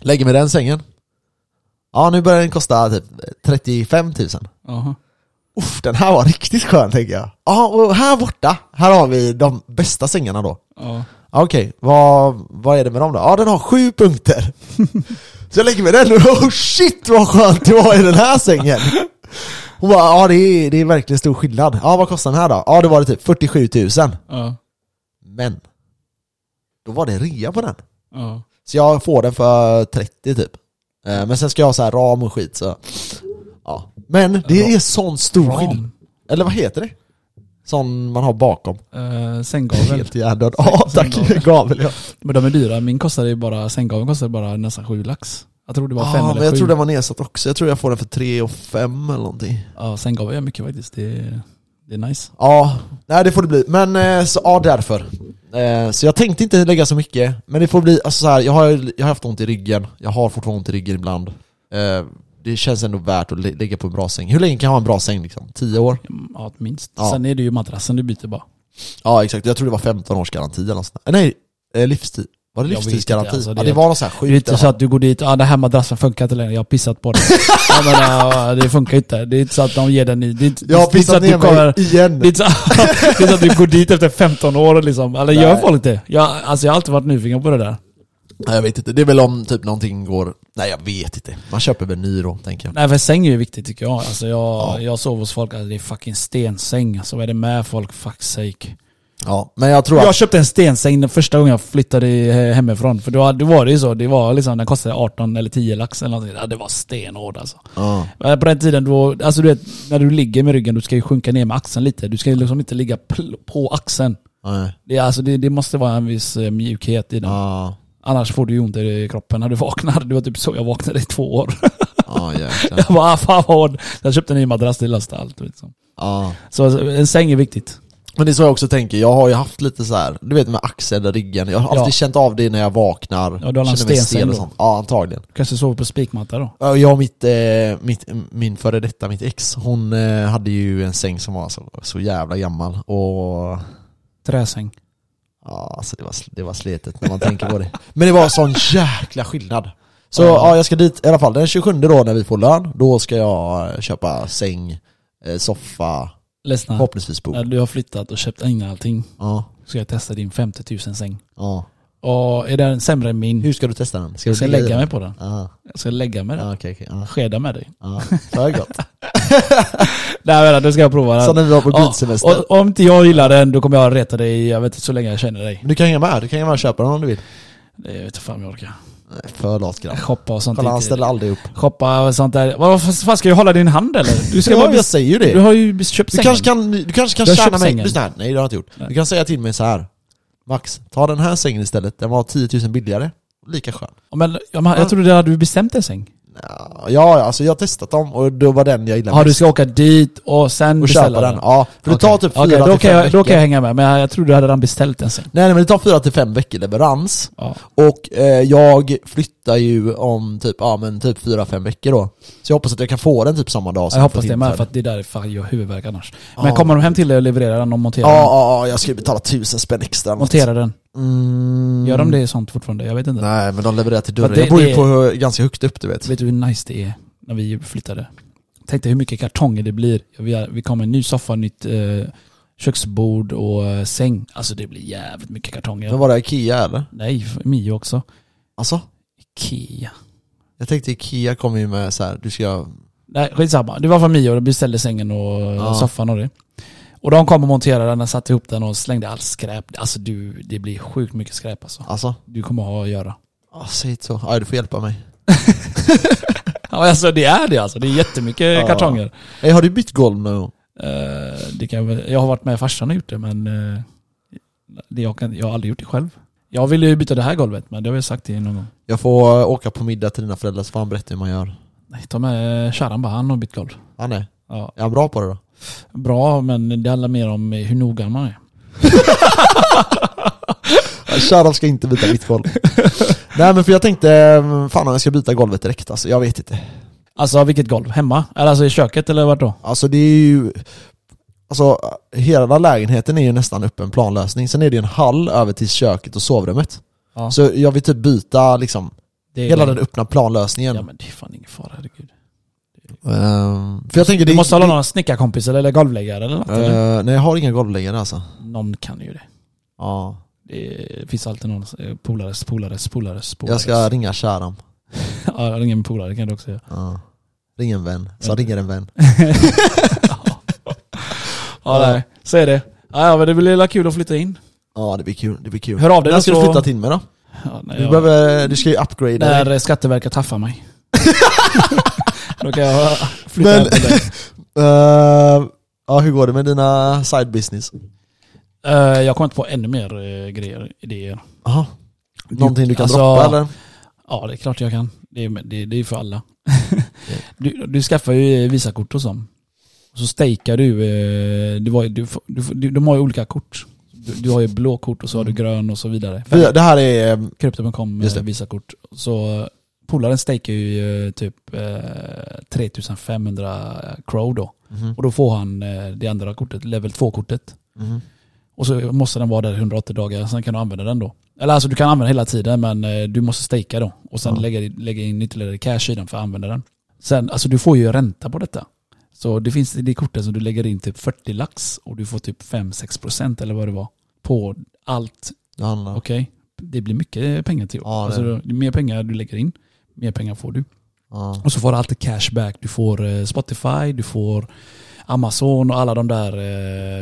A: Lägger mig i den sängen. Ja nu börjar den kosta typ 35 000.
B: Jaha.
A: Uff, den här var riktigt skön tänker jag. Ja, och här borta, här har vi de bästa sängarna då.
B: Ja.
A: Ja, Okej, vad, vad är det med dem då? Ja, den har sju punkter. Så jag lägger mig i den och oh shit vad skönt det var i den här sängen. Hon bara, ja det är, det är verkligen stor skillnad. Ja, vad kostar den här då? Ja, det var det typ 47 000.
B: Ja.
A: Men, då var det rea på den.
B: Ja.
A: Så jag får den för 30 typ. Eh, Men sen ska jag ha så här ram och skit så. Ja. Men det är sån stor skillnad. Eller vad heter det? Sån man har bakom.
B: Uh, sänggaveln.
A: Helt hjärndöd. Ja, tack. Gavel ja.
B: Men de är dyra. Min kostade ju bara, sänggaveln kostade bara nästan sju lax. Jag tror det var fem
A: Ja,
B: eller
A: men jag
B: sju.
A: tror den var nedsatt också. Jag tror jag får den för 3 och 5 eller någonting.
B: Ja, sänggavel gör mycket faktiskt. Det är, det är nice.
A: Ja, nej det får det bli. Men eh, så, ja, därför. Eh, Så jag tänkte inte lägga så mycket, men det får bli, alltså så här, jag har, jag har haft ont i ryggen, jag har fortfarande ont i ryggen ibland. Eh, Det känns ändå värt att lä- lägga på en bra säng. Hur länge kan jag ha en bra säng liksom? 10 år?
B: Ja, minst.
A: Ja.
B: Sen är det ju madrassen du byter bara.
A: Ja exakt, jag tror det var 15 års garanti eller något sånt där. Nej, eh, livstid. Var det
B: Jag vet inte,
A: livstidsgaranti?
B: alltså, det-
A: ja, det var någon sån här
B: Det är
A: skit.
B: inte
A: eller
B: så att du går dit och ah, den här madrassen funkar inte längre, jag har pissat på den. jag menar, det funkar inte. Det är inte så att de ger den ny. Det är inte,
A: Jag har
B: det är inte så
A: pissat
B: att du
A: ner mig
B: kommer-
A: igen.
B: Det är, inte så, det är så att du går dit efter 15 år och liksom, eller gör
A: Nej.
B: folk det? Jag, alltså jag har alltid varit nyfiken på det där.
A: Nej, jag vet inte, det är väl om typ någonting går... Nej jag vet inte. Man köper väl ny då, tänker jag.
B: Nej för säng är ju viktigt tycker jag. Alltså jag, jag sover hos folk, alltså, det är fucking stensäng. Alltså vad är det med folk? Fuck sake.
A: Ja, men jag tror att...
B: Jag köpte en stensäng den första gången jag flyttade eh, hemifrån. För då, då var det ju så, det var liksom, den kostade 18 eller 10 lax eller någonting. Ja, det var stenhård alltså.
A: Ja.
B: Men På den tiden då, alltså du vet, när du ligger med ryggen, du ska ju sjunka ner med axeln lite. Du ska ju liksom inte ligga pl- på axeln.
A: Nej.
B: Det, är alltså, det, det måste vara en viss eh, mjukhet i den.
A: Ja,
B: Annars får du ju ont i kroppen när du vaknar. Det var typ så jag vaknade i två år.
A: ja jäklar.
B: jag bara, ah, fan vad hård. Jag köpte en ny madrass, det löste allt. Liksom.
A: Ja.
B: Så alltså, en säng är viktigt.
A: Men det är så jag också tänker, jag har ju haft lite så här, du vet med axeln och ryggen, jag har alltid
B: Ja.
A: känt av det när jag vaknar.
B: Ja, du har en
A: känner mig
B: stensäng
A: stel
B: då.
A: Ja, antagligen.
B: Du kanske sover på spikmatta då?
A: Ja, Jag och mitt, eh, mitt, min före detta, mitt ex, hon eh, hade ju en säng som var så, så jävla gammal och
B: Träsäng.
A: Ja, alltså det var, det var slitet när man tänker på det. Men det var sån jäkla skillnad. Så
B: Ja.
A: ja, jag ska dit i alla fall. Den 27 då när vi får lön, då ska jag eh, köpa säng, eh, soffa,
B: Ledsna.
A: förhoppningsvis bord.
B: När du har flyttat och köpt in allting
A: Ja,
B: ska jag testa din 50 000 säng.
A: ja.
B: Och är den sämre än min,
A: Hur ska du testa den?
B: jag ska
A: ligga i
B: lägga
A: den?
B: mig på den.
A: Ja,
B: Jag ska lägga mig där.
A: ja, okej, okej. Ja,
B: Skeda med dig.
A: ja. För gott.
B: Nej men då ska jag prova den.
A: Som när vi var på
B: Ja,
A: bilsemester.
B: och, om inte jag gillar den, då kommer jag reta dig, jag vet inte, så länge jag känner dig.
A: Du kan hänga med, du kan hänga med och köpa den om du vill.
B: Det vet inte fan om jag orkar.
A: Nej, för lat grabb.
B: Shoppa och sånt.
A: Kolla, han
B: inte-
A: ställer aldrig upp.
B: Shoppa och sånt där. Vad vad fan, ska jag hålla din hand eller? Du ska
A: Ja,
B: bara
A: jag
B: bes-
A: säger ju det.
B: Du har ju köpt
A: Du
B: sängen.
A: kanske kan, du kanske kan
B: Jag har
A: tjäna
B: köpt
A: mig,
B: sängen.
A: lyssna här, nej det har jag inte gjort. Du kan säga till mig så här. Max, ta den här sängen istället, den var 10 000 billigare, lika skön.
B: Ja, Men, ja, men jag trodde det hade du bestämt en säng.
A: Ja, ja, alltså jag har testat dem och då var den jag gillade
B: Ja, du
A: mest.
B: ska åka dit och sen
A: Och köpa
B: beställa
A: den, ja. För det
B: Okej.
A: tar typ fyra
B: Okej, då,
A: till
B: kan
A: fem
B: jag, då
A: veckor.
B: kan jag hänga med, men jag, jag trodde du hade redan beställt en säng.
A: Nej nej, men det tar fyra till fem veckor leverans.
B: Ja.
A: Och eh, jag flyttar ju om typ, ja men typ fyra, fem veckor då. Så jag hoppas att jag kan få den typ samma dag
B: Jag hoppas det med,
A: tillfället.
B: för att det där är fan gör huvudvärk annars.
A: Ja.
B: Men kommer de hem till dig och levererar den och monterar
A: Ja,
B: den?
A: ja, ja, jag ska ju betala tusen spänn extra.
B: Monterar den?
A: Mm.
B: Gör de det sånt fortfarande? Jag vet inte.
A: Nej men de levererar till dörren.
B: Men det-
A: jag bor ju
B: det-
A: på eh, ganska högt upp du vet.
B: Vet du hur nice det är när vi flyttade? Tänk dig hur mycket kartonger det blir. Vi, har, vi kommer en ny soffa, nytt eh, köksbord och eh, säng. Alltså det blir jävligt mycket kartonger.
A: Men var det Ikea eller?
B: Nej, för Mio också.
A: Alltså?
B: Ikea.
A: Jag tänkte Ikea kommer ju med så här, du ska...
B: Nej, skitsamma. Det var för Mio, de beställde sängen och
A: Ja.
B: soffan och det. Och de kom och monterade den, satte ihop den och slängde allt skräp. Alltså du, det blir sjukt mycket skräp alltså.
A: Alltså?
B: Du kommer ha att göra.
A: Ja, säg inte så. Ja, du får hjälpa mig.
B: Ja, alltså det är det alltså. Det är jättemycket
A: Ja.
B: kartonger.
A: Hey, har du bytt golv nu?
B: Eh, det kan jag, väl- jag har varit med farsan och gjort det men eh, det jag, kan, jag har aldrig gjort det själv. Jag ville ju byta det här golvet, men det har jag sagt till er någon gång.
A: Jag får eh, åka på middag till dina föräldrar så får han berätta hur man gör.
B: Nej, Ta med eh, Sharan bara, han har bytt golv.
A: Han är,
B: Ja,
A: är han bra på det då?
B: bra, men det handlar mer om eh, hur noga man är.
A: Shoutout ska inte byta mitt golv. Nej men för jag tänkte, mm, fan om jag ska byta golvet direkt alltså, jag vet inte.
B: Alltså vilket golv? Hemma? Eller alltså i köket eller vart då?
A: Alltså det är ju, alltså hela lägenheten är ju nästan upp en planlösning. Sen är det ju en hall över till köket och sovrummet.
B: Ja.
A: Så jag vill typ byta liksom
B: Det är
A: hela den öppna planlösningen.
B: Ja men det är fan ingen fara, herregud.
A: Ehm, för jag tänker
B: Alltså, Du
A: det
B: måste ha några snickarkompisar eller golvläggare eller något, eller?
A: Eh, nej jag har inga golvläggare alltså.
B: Någon kan ju det.
A: Ja.
B: Det finns alltid någon eh, polares, polares, polares, polares.
A: Jag ska ringa Sharam.
B: Ja, ring en polare kan du också göra.
A: Ja. Ring en vän. Så ringer en vän.
B: Ja, nej. Så är det. Ja, ja, men det blir väl kul att flytta in.
A: Ja det blir kul, det blir kul.
B: Hör av dig
A: När ska
B: så-
A: du flytta till mig då?
B: Ja, nej,
A: Du,
B: jag-
A: behöver, du ska ju upgrada dig.
B: När Skatteverket haffar mig. Då kan jag flytta
A: Men-
B: hem till dig.
A: Eh, ja, hur går det med dina side business?
B: Eh, jag kommer inte på ännu mer eh, grejer, idéer.
A: Aha. Någonting du kan
B: Alltså-
A: droppa eller?
B: Ja, det är klart jag kan. Det är, det, det är för alla. du, du skaffar ju eh, Visakort och så. Så stejkar du, eh, du, var, ju- du, får- du, får- du, de har ju olika kort. Du, du har ju blå kort och så har du grön och så vidare.
A: För jag- Det här är... eh,
B: Krypto.com
A: Just
B: eh,
A: det.
B: Visakort. Så eh, polaren stejkar ju eh, typ eh, 3500 crow då.
A: mhm,
B: Och då får han eh, det andra kortet, level 2-kortet.
A: mhm.
B: Och så måste den vara där i 180 dagar, sen kan du använda den då. Eller alltså du kan använda hela tiden men eh, du måste stejka då. Och sen
A: Ja.
B: lägga, lägga in ytterligare cash i den för att använda den. Sen, alltså du får ju ränta på detta. Så det finns i det kortet som du lägger in typ 40 lax och du får typ 5-6% eller vad det var. På allt,
A: Det handlar om...
B: okej? Det blir mycket pengar till år.
A: Ja, det-
B: alltså, det är mer pengar du lägger in, mer pengar får du.
A: Ja.
B: Och så får du alltid cashback. Du får eh, Spotify, du får Amazon och alla de där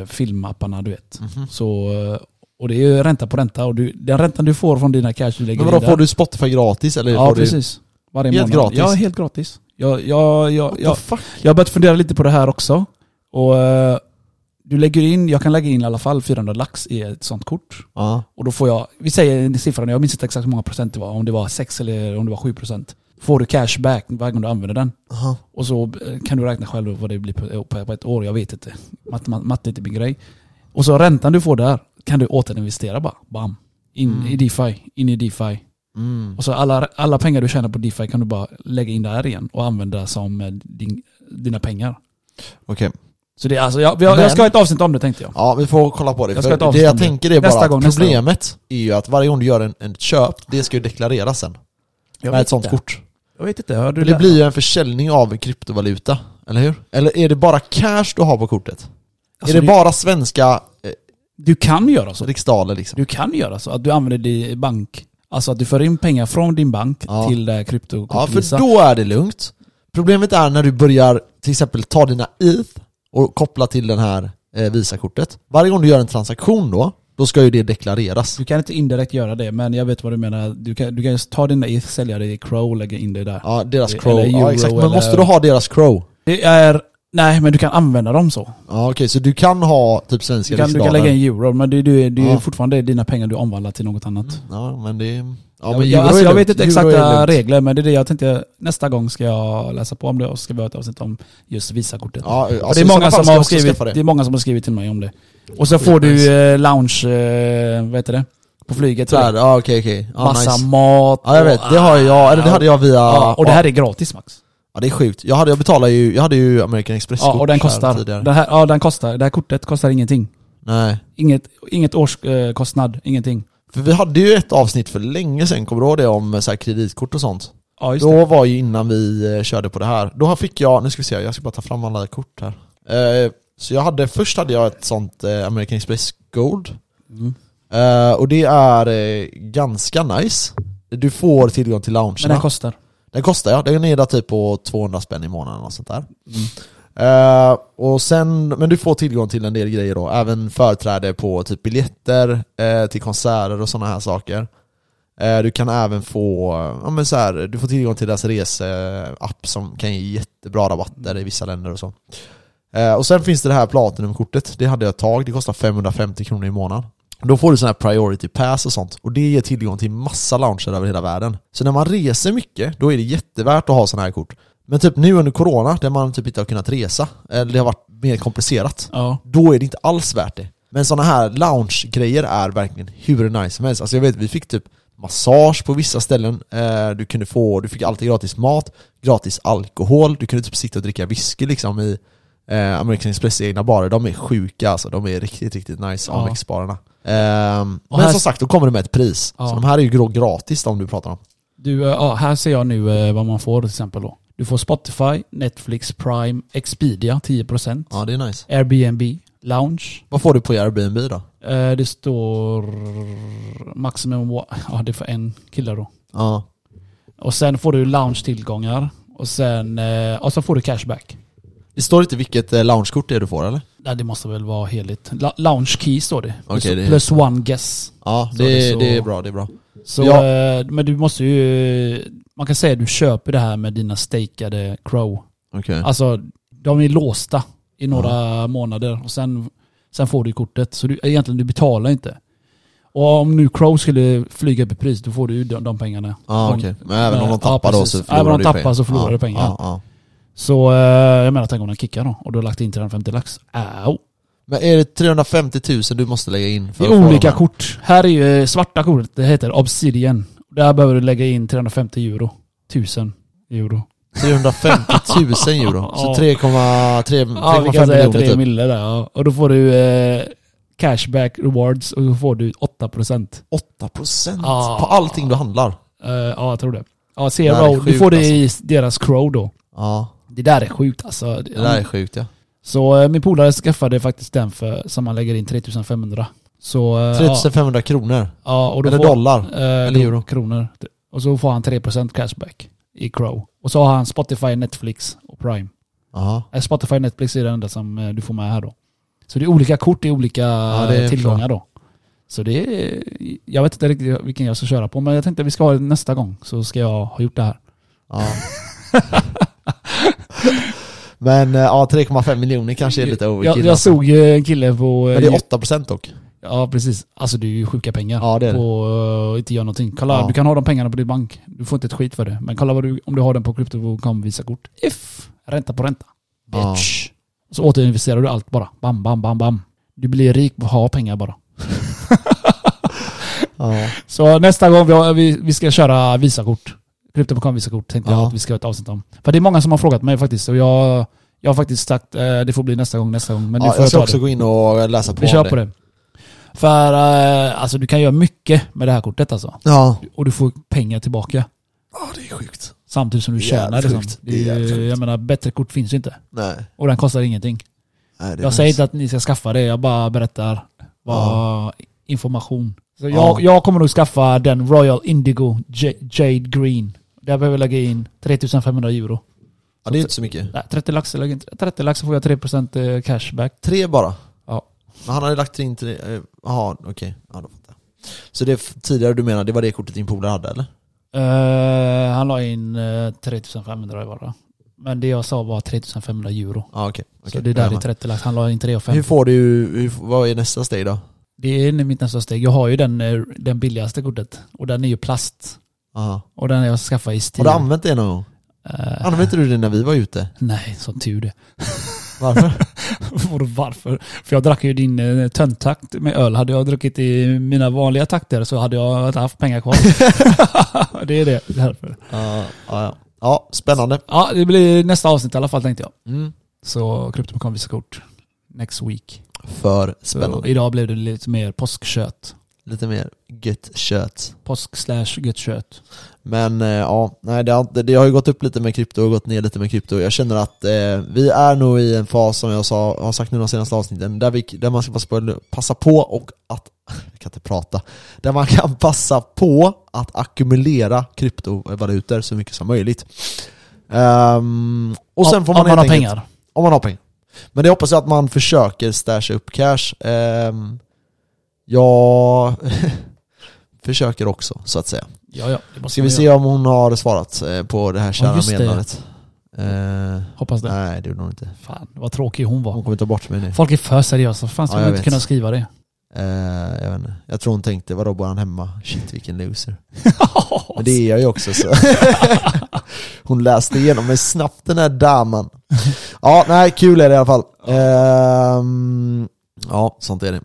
B: eh, filmapparna du vet.
A: Mhm.
B: Så, eh, och det är ju ränta på ränta. Och du, den räntan du får från dina cash du lägger
A: Men vadå,
B: i där-
A: får du Spotify gratis eller?
B: Ja,
A: får Du...
B: precis. Varje
A: Helt
B: månad.
A: gratis?
B: Ja, helt gratis. Jag, jag, jag,
A: What
B: jag,
A: the fuck?
B: jag har börjat fundera lite på det här också. Och eh, du lägger in, jag kan lägga in i alla fall 400 lax i ett sånt kort.
A: Ja.
B: Och då får jag, vi säger siffran, jag minns inte exakt hur många procent det var, om det var 6 eller om det var 7 procent. Får du cashback varje gång du använder den.
A: Aha.
B: Och så eh, kan du räkna själv vad det blir på, på, på ett år, jag vet inte. Matte mat, matte är inte min grej. Och så räntan du får där kan du återinvestera bara. Bam. In
A: Mm.
B: i DeFi, in i DeFi.
A: Mm.
B: Och så alla, alla pengar du tjänar på DeFi kan du bara lägga in där igen och använda som eh, din, dina pengar.
A: Okej.
B: Så det är alltså, jag, vi har- jag ska ha ett avsnitt om det tänkte jag.
A: Ja, vi får kolla på det.
B: Jag ska ta
A: För det
B: avstånd
A: jag
B: nu.
A: tänker är
B: Nästa
A: bara
B: gång,
A: att
B: nästa gång.
A: problemet är ju att varje gång du gör en, en köp, det ska ju deklareras sen.
B: jag
A: med
B: vet
A: ett sånt
B: inte.
A: kort.
B: Jag vet inte, hör du
A: Det blir ju en försäljning av kryptovaluta, eller hur? Eller är det bara cash du har på kortet?
B: Alltså,
A: är det
B: det-
A: bara svenska eh,
B: Du kan göra så.
A: riksdaler liksom?
B: Alltså, Du kan göra så, att du använder din bank. Alltså att du för in pengar från din bank
A: Ja.
B: till eh, krypto.
A: Ja, för då är det lugnt. Problemet är när du börjar till exempel ta dina ETH och koppla till den här eh, Visakortet. Varje gång du gör en transaktion då, då ska ju det deklareras.
B: Du kan inte indirekt göra det, men jag vet vad du menar. Du kan, du kan just ta dina ETH, sälja det i Crow och lägga in det där.
A: Ja, deras
B: Eller
A: crow.
B: euro
A: Ja, exakt. Men
B: eller-
A: måste du ha deras crow?
B: Det är... Nej, men du kan använda dem så.
A: Ja, okej. så du kan ha typ svenska
B: Du kan, du kan
A: riksdaler.
B: lägga in euro, men det, det, det är
A: Ja.
B: ju fortfarande dina pengar du omvandlar till något annat.
A: Ja, men det... Ja,
B: Ja,
A: men
B: men
A: euro
B: jag, alltså,
A: är
B: jag
A: lugnt.
B: vet inte
A: Euro är
B: exakta
A: lugnt.
B: regler, men det är det jag tänkte. Nästa gång ska jag läsa på om det och ska vi ha ett avsnitt om just Visakortet.
A: Ja,
B: För
A: alltså,
B: det, är många som har skrivit,
A: skrivit...
B: det. är många som har skrivit till mig om det. Och så får du
A: nice.
B: eh, lounge, eh, vad heter det? På flyget.
A: Där, ja okej okej. Ja,
B: Massa
A: nice.
B: mat.
A: Ja jag vet, det har jag, eller det
B: Ja.
A: hade jag via...
B: Ja, och det här är gratis Max.
A: Ja det är sjukt. Jag, hade, jag betalade ju, jag hade ju American Express-kort
B: Ja, och den
A: här
B: kostar.
A: tidigare.
B: Den här, ja, den kostar. Det här kortet kostar ingenting.
A: Nej.
B: Inget, inget årskostnad, ingenting.
A: För vi hade ju ett avsnitt för länge sedan, kommer du ihåg det? Om eh, så här kreditkort och sånt.
B: Ja, just det.
A: Då var ju innan vi eh, körde på det här. Då fick jag, nu ska vi se, jag ska bara ta fram alla kort här. Eh, så jag hade, först hade jag ett sånt eh, American Express Gold.
B: Mm.
A: Eh, och det är eh, ganska nice. Du får tillgång till
B: Men den
A: loungerna.
B: kostar.
A: Den kostar ja, den är där typ på 200 spänn i månaden och sånt där. Eh, och sen, men du får tillgång till en del grejer då, även företräde på typ biljetter eh, till konserter och sådana här saker. Eh, du kan även få, eh, ja men så här, du får tillgång till deras reseapp som kan ge jättebra rabatter i vissa länder och så. Eh, och sen finns det det här Platinumkortet, det hade jag ett tag, det kostar 550 kronor i månaden. Då får du sån här priority pass och sånt och det ger tillgång till massa lounger över hela världen. Så när man reser mycket, då är det jättevärt att ha såna här kort. Men typ nu under corona, där man typ inte har kunnat resa, eller det har varit mer komplicerat,
B: Ja.
A: då är det inte alls värt det. Men såna här lounge-grejer är verkligen hur nice som helst. Alltså jag vet, vi fick typ massage på vissa ställen, eh, du kunde få, du fick alltid gratis mat, gratis alkohol, du kunde typ sitta och dricka whisky liksom i eh, American Express egna barer. De är sjuka alltså, de är riktigt, riktigt nice,
B: Ja.
A: Amex-barerna. Ehm,
B: Och
A: men
B: här-
A: som sagt, då kommer det med ett pris.
B: Ja.
A: Så de här är ju grå- gratis de du pratar om.
B: Du, eh, ja, här ser jag nu eh, vad man får till exempel då. Du får Spotify, Netflix, Prime, Expedia 10%,
A: Ja, det är nice.
B: Airbnb, Lounge.
A: Vad får du på Airbnb då?
B: Eh, Det står maximum, wa- ja det är för en kille då.
A: Ja,
B: Och sen får du lounge-tillgångar och sen, eh, och så får du cashback.
A: det står inte vilket eh, loungekort det är du får eller?
B: Nej, det måste väl vara heligt. La- Lounge key står det.
A: Okej,
B: Plus-
A: det är-
B: Plus one guess.
A: Ja,
B: Så
A: det,
B: det är så-
A: det är bra, det är bra.
B: Så,
A: Ja.
B: eh, men du måste ju, man kan säga att du köper det här med dina stakeade crow.
A: Okej.
B: Alltså, de är låsta i några månader och sen, sen får du kortet. Så du, egentligen, du betalar inte. Och om nu Crow skulle flyga upp i pris, då får du ju de, de pengarna.
A: Ja
B: Om-
A: okej, men även om
B: Ja,
A: de tappar då så
B: precis.
A: förlorar
B: Även om
A: du
B: de
A: pengar.
B: tappar så förlorar
A: ja,
B: du pengar.
A: Ja, ja.
B: Så eh, jag menar, tänk om den kickar då och du har lagt in 350 lax. Au.
A: Men är det 350 000 du måste lägga in för
B: Det
A: att få
B: är olika
A: de här?
B: kort. Här är ju eh, svarta kortet, det heter Obsidian. Där behöver du lägga in 350 euro. 1000 euro.
A: 350 000 euro, så
B: Ja.
A: 3,5
B: Ja, vi kan säga
A: miljoner
B: 3
A: typ.
B: mille där. ja. Och då får du eh, cashback rewards och då får du 8%.
A: 8%
B: Ja.
A: på allting du handlar.
B: Eh, ja, jag tror det.
A: Det
B: Ja,
A: här är
B: Zero. Du
A: sjukt,
B: får det i deras crow då.
A: Ja,
B: Det där är sjukt alltså.
A: det där är sjukt ja.
B: Så eh, min polare skaffade faktiskt den för, som man lägger in 3500. Så... eh,
A: 3500 kronor,
B: Ja, ja, och då
A: eller
B: får,
A: dollar.
B: eh,
A: eller euro.
B: Kronor. Och så får han 3% cashback i crow. Och så har han Spotify, Netflix och Prime.
A: Ja.
B: Eh, Spotify och Netflix är det enda som eh, du får med här då. Så det är olika kort, det är olika eh,
A: det är
B: tillgångar då. Så det är, jag vet inte riktigt vilken jag ska köra på, men jag tänkte vi ska ha det nästa gång så ska jag ha gjort det här.
A: ja. Men eh, ja, 3,5 miljoner kanske är lite
B: jag,
A: overkill.
B: jag
A: alltså.
B: såg ju en kille på... eh,
A: Men det är 8% dock.
B: Ja, precis. Alltså det är ju sjuka pengar.
A: Ja, det är det.
B: på eh, inte göra någonting. Kolla,
A: Ja.
B: du kan ha de pengarna på din bank. Du får inte ett skit för det. Men kolla vad du, om du har den på kryptokom Visakort. If! Ränta på ränta.
A: Ja.
B: Bitch. Så återinvesterar du allt bara. Bam, bam, bam, bam. Du blir rik på att ha pengar bara.
A: Ja.
B: Så nästa gång vi, har, vi, vi ska köra Visakort. Kryptokom Visakort tänkte
A: Ja.
B: jag att vi ska ha ett avsnitt om. För det är många som har frågat mig faktiskt. Och jag, jag har faktiskt sagt eh, det får bli nästa gång, nästa gång. Men nu
A: Ja,
B: får
A: jag
B: jag
A: ska
B: ta
A: också
B: det.
A: gå in och läsa på
B: Vi
A: om
B: kör på det. För eh, alltså du kan göra mycket med det här kortet alltså.
A: Ja.
B: och du får pengar tillbaka
A: ja, det är sjukt.
B: samtidigt som du
A: Det är
B: tjänar.
A: jävligt
B: Liksom.
A: sjukt.
B: Det
A: Det är
B: är,
A: jävligt sjukt.
B: jag menar, bättre kort finns ju inte.
A: Nej.
B: Och den kostar ingenting.
A: Nej, det är
B: Jag säger
A: nice.
B: inte att ni ska skaffa det, jag bara berättar vad information. Så
A: Ja.
B: jag, jag kommer nog skaffa den Royal Indigo J- Jade Green. Där behöver jag lägga in 3500 euro.
A: Ja, det är inte så mycket.
B: Nej, 30 lax, jag lägger in 30 lax så får jag 3% eh, cashback.
A: Tre bara?
B: Ja.
A: Men han hade lagt in tre... eh, Jaha, okej. Ja, då fattar jag. Så det f- tidigare du menar, det var det kortet din polare hade eller?
B: Eh, han la in uh, 3500 bara. Men det jag sa var 3500 euro.
A: Ja, okej. okej.
B: Så det där
A: Jag
B: är
A: med.
B: 30 lax, han la in 3
A: Hur får du... Hur, vad är nästa steg då?
B: Det är nu mitt nästa steg. Jag har ju den, eh, den billigaste kortet. Och den är ju plast.
A: Aha.
B: Och den har jag skaffat i
A: Har
B: stil.
A: du använt det någon gång?
B: Eh,
A: Använde inte du det när vi var ute?
B: nej, som tur det.
A: Varför?
B: Vadå Varför? För jag drack ju din eh, töntakt med öl. Hade jag druckit i mina vanliga takter så hade jag inte haft pengar kvar. det är det. Därför.
A: ja, ja, ja. ja, spännande.
B: Ja, det blir nästa avsnitt i alla fall tänkte jag.
A: Mm.
B: Så kryptokom visa kort. Next week.
A: För spännande.
B: Så, idag blev det lite mer påskkött.
A: Lite mer gött kött.
B: Påsk slash gött kött.
A: Men eh, ja, nej, det, har, inte- det har ju gått upp lite med krypto och gått ner lite med krypto. Jag känner att eh, vi är nog i en fas, som jag sa, har sagt nu de senaste avsnitten, där, vi, där man ska passa på, passa på och att... Jag kan inte prata. Där man kan passa på att ackumulera kryptovalutor så mycket som möjligt. Ehm, och sen
B: Om-
A: får man,
B: Om man har
A: helt enkelt-
B: pengar.
A: Om man har pengar. Men det hoppas jag att man försöker stasha upp cash. Ehm, jag försöker också, så att säga.
B: Ja, ja. Det måste
A: Ska
B: man
A: vi
B: göra.
A: se om hon har svarat eh, på det här kära
B: just det.
A: meddelandet? Eh,
B: Hoppas det.
A: nej, det gjorde hon inte.
B: Fan, vad tråkig hon var.
A: Hon kommer ta bort mig nu.
B: Folk är för seriösa. Fan, ska
A: Ja,
B: man
A: jag
B: inte
A: vet.
B: kunna skriva det?
A: Eh, jag, vet inte. jag tror hon tänkte, vadå bor han hemma? Shit vilken loser. Men det är jag ju också så. hon läste igenom mig snabbt den här damen. Ja, nej, kul är det i alla fall. Ehm, ja, sånt är det.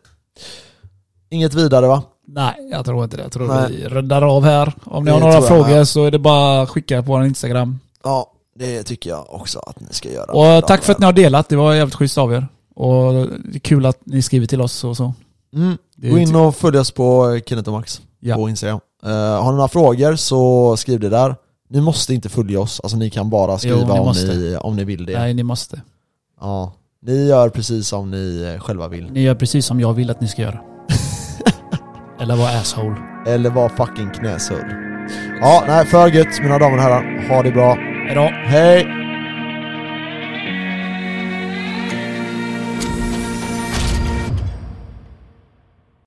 A: Inget vidare va?
B: Nej, jag tror inte det. Jag tror
A: Nej.
B: vi rundar av här. Om ni
A: Det
B: har några
A: tror jag
B: frågor
A: med.
B: så är det bara att skicka på vår Instagram.
A: Ja, det tycker jag också att ni ska göra.
B: Och eh, tack för att ni har delat. Det var jävligt schysst av er. Och det är kul att ni skriver till oss och så.
A: Mm.
B: Det är
A: Gå
B: ty-
A: in och följ oss på Kenneth och Max
B: Ja.
A: på Instagram. Eh, har ni några frågor så skriv det där. Ni måste inte följa oss, alltså ni kan bara
B: Jo,
A: skriva
B: ni
A: om,
B: måste.
A: ni, om ni vill det.
B: Nej, ni måste.
A: Ja. Ni gör precis som ni eh, själva vill.
B: Ni gör precis som jag vill att ni ska göra. Eller var asshole.
A: Eller var fucking knäsull. Ja, nej, för gött mina damer och herrar. Ha det bra.
B: Hejdå.
A: Hej!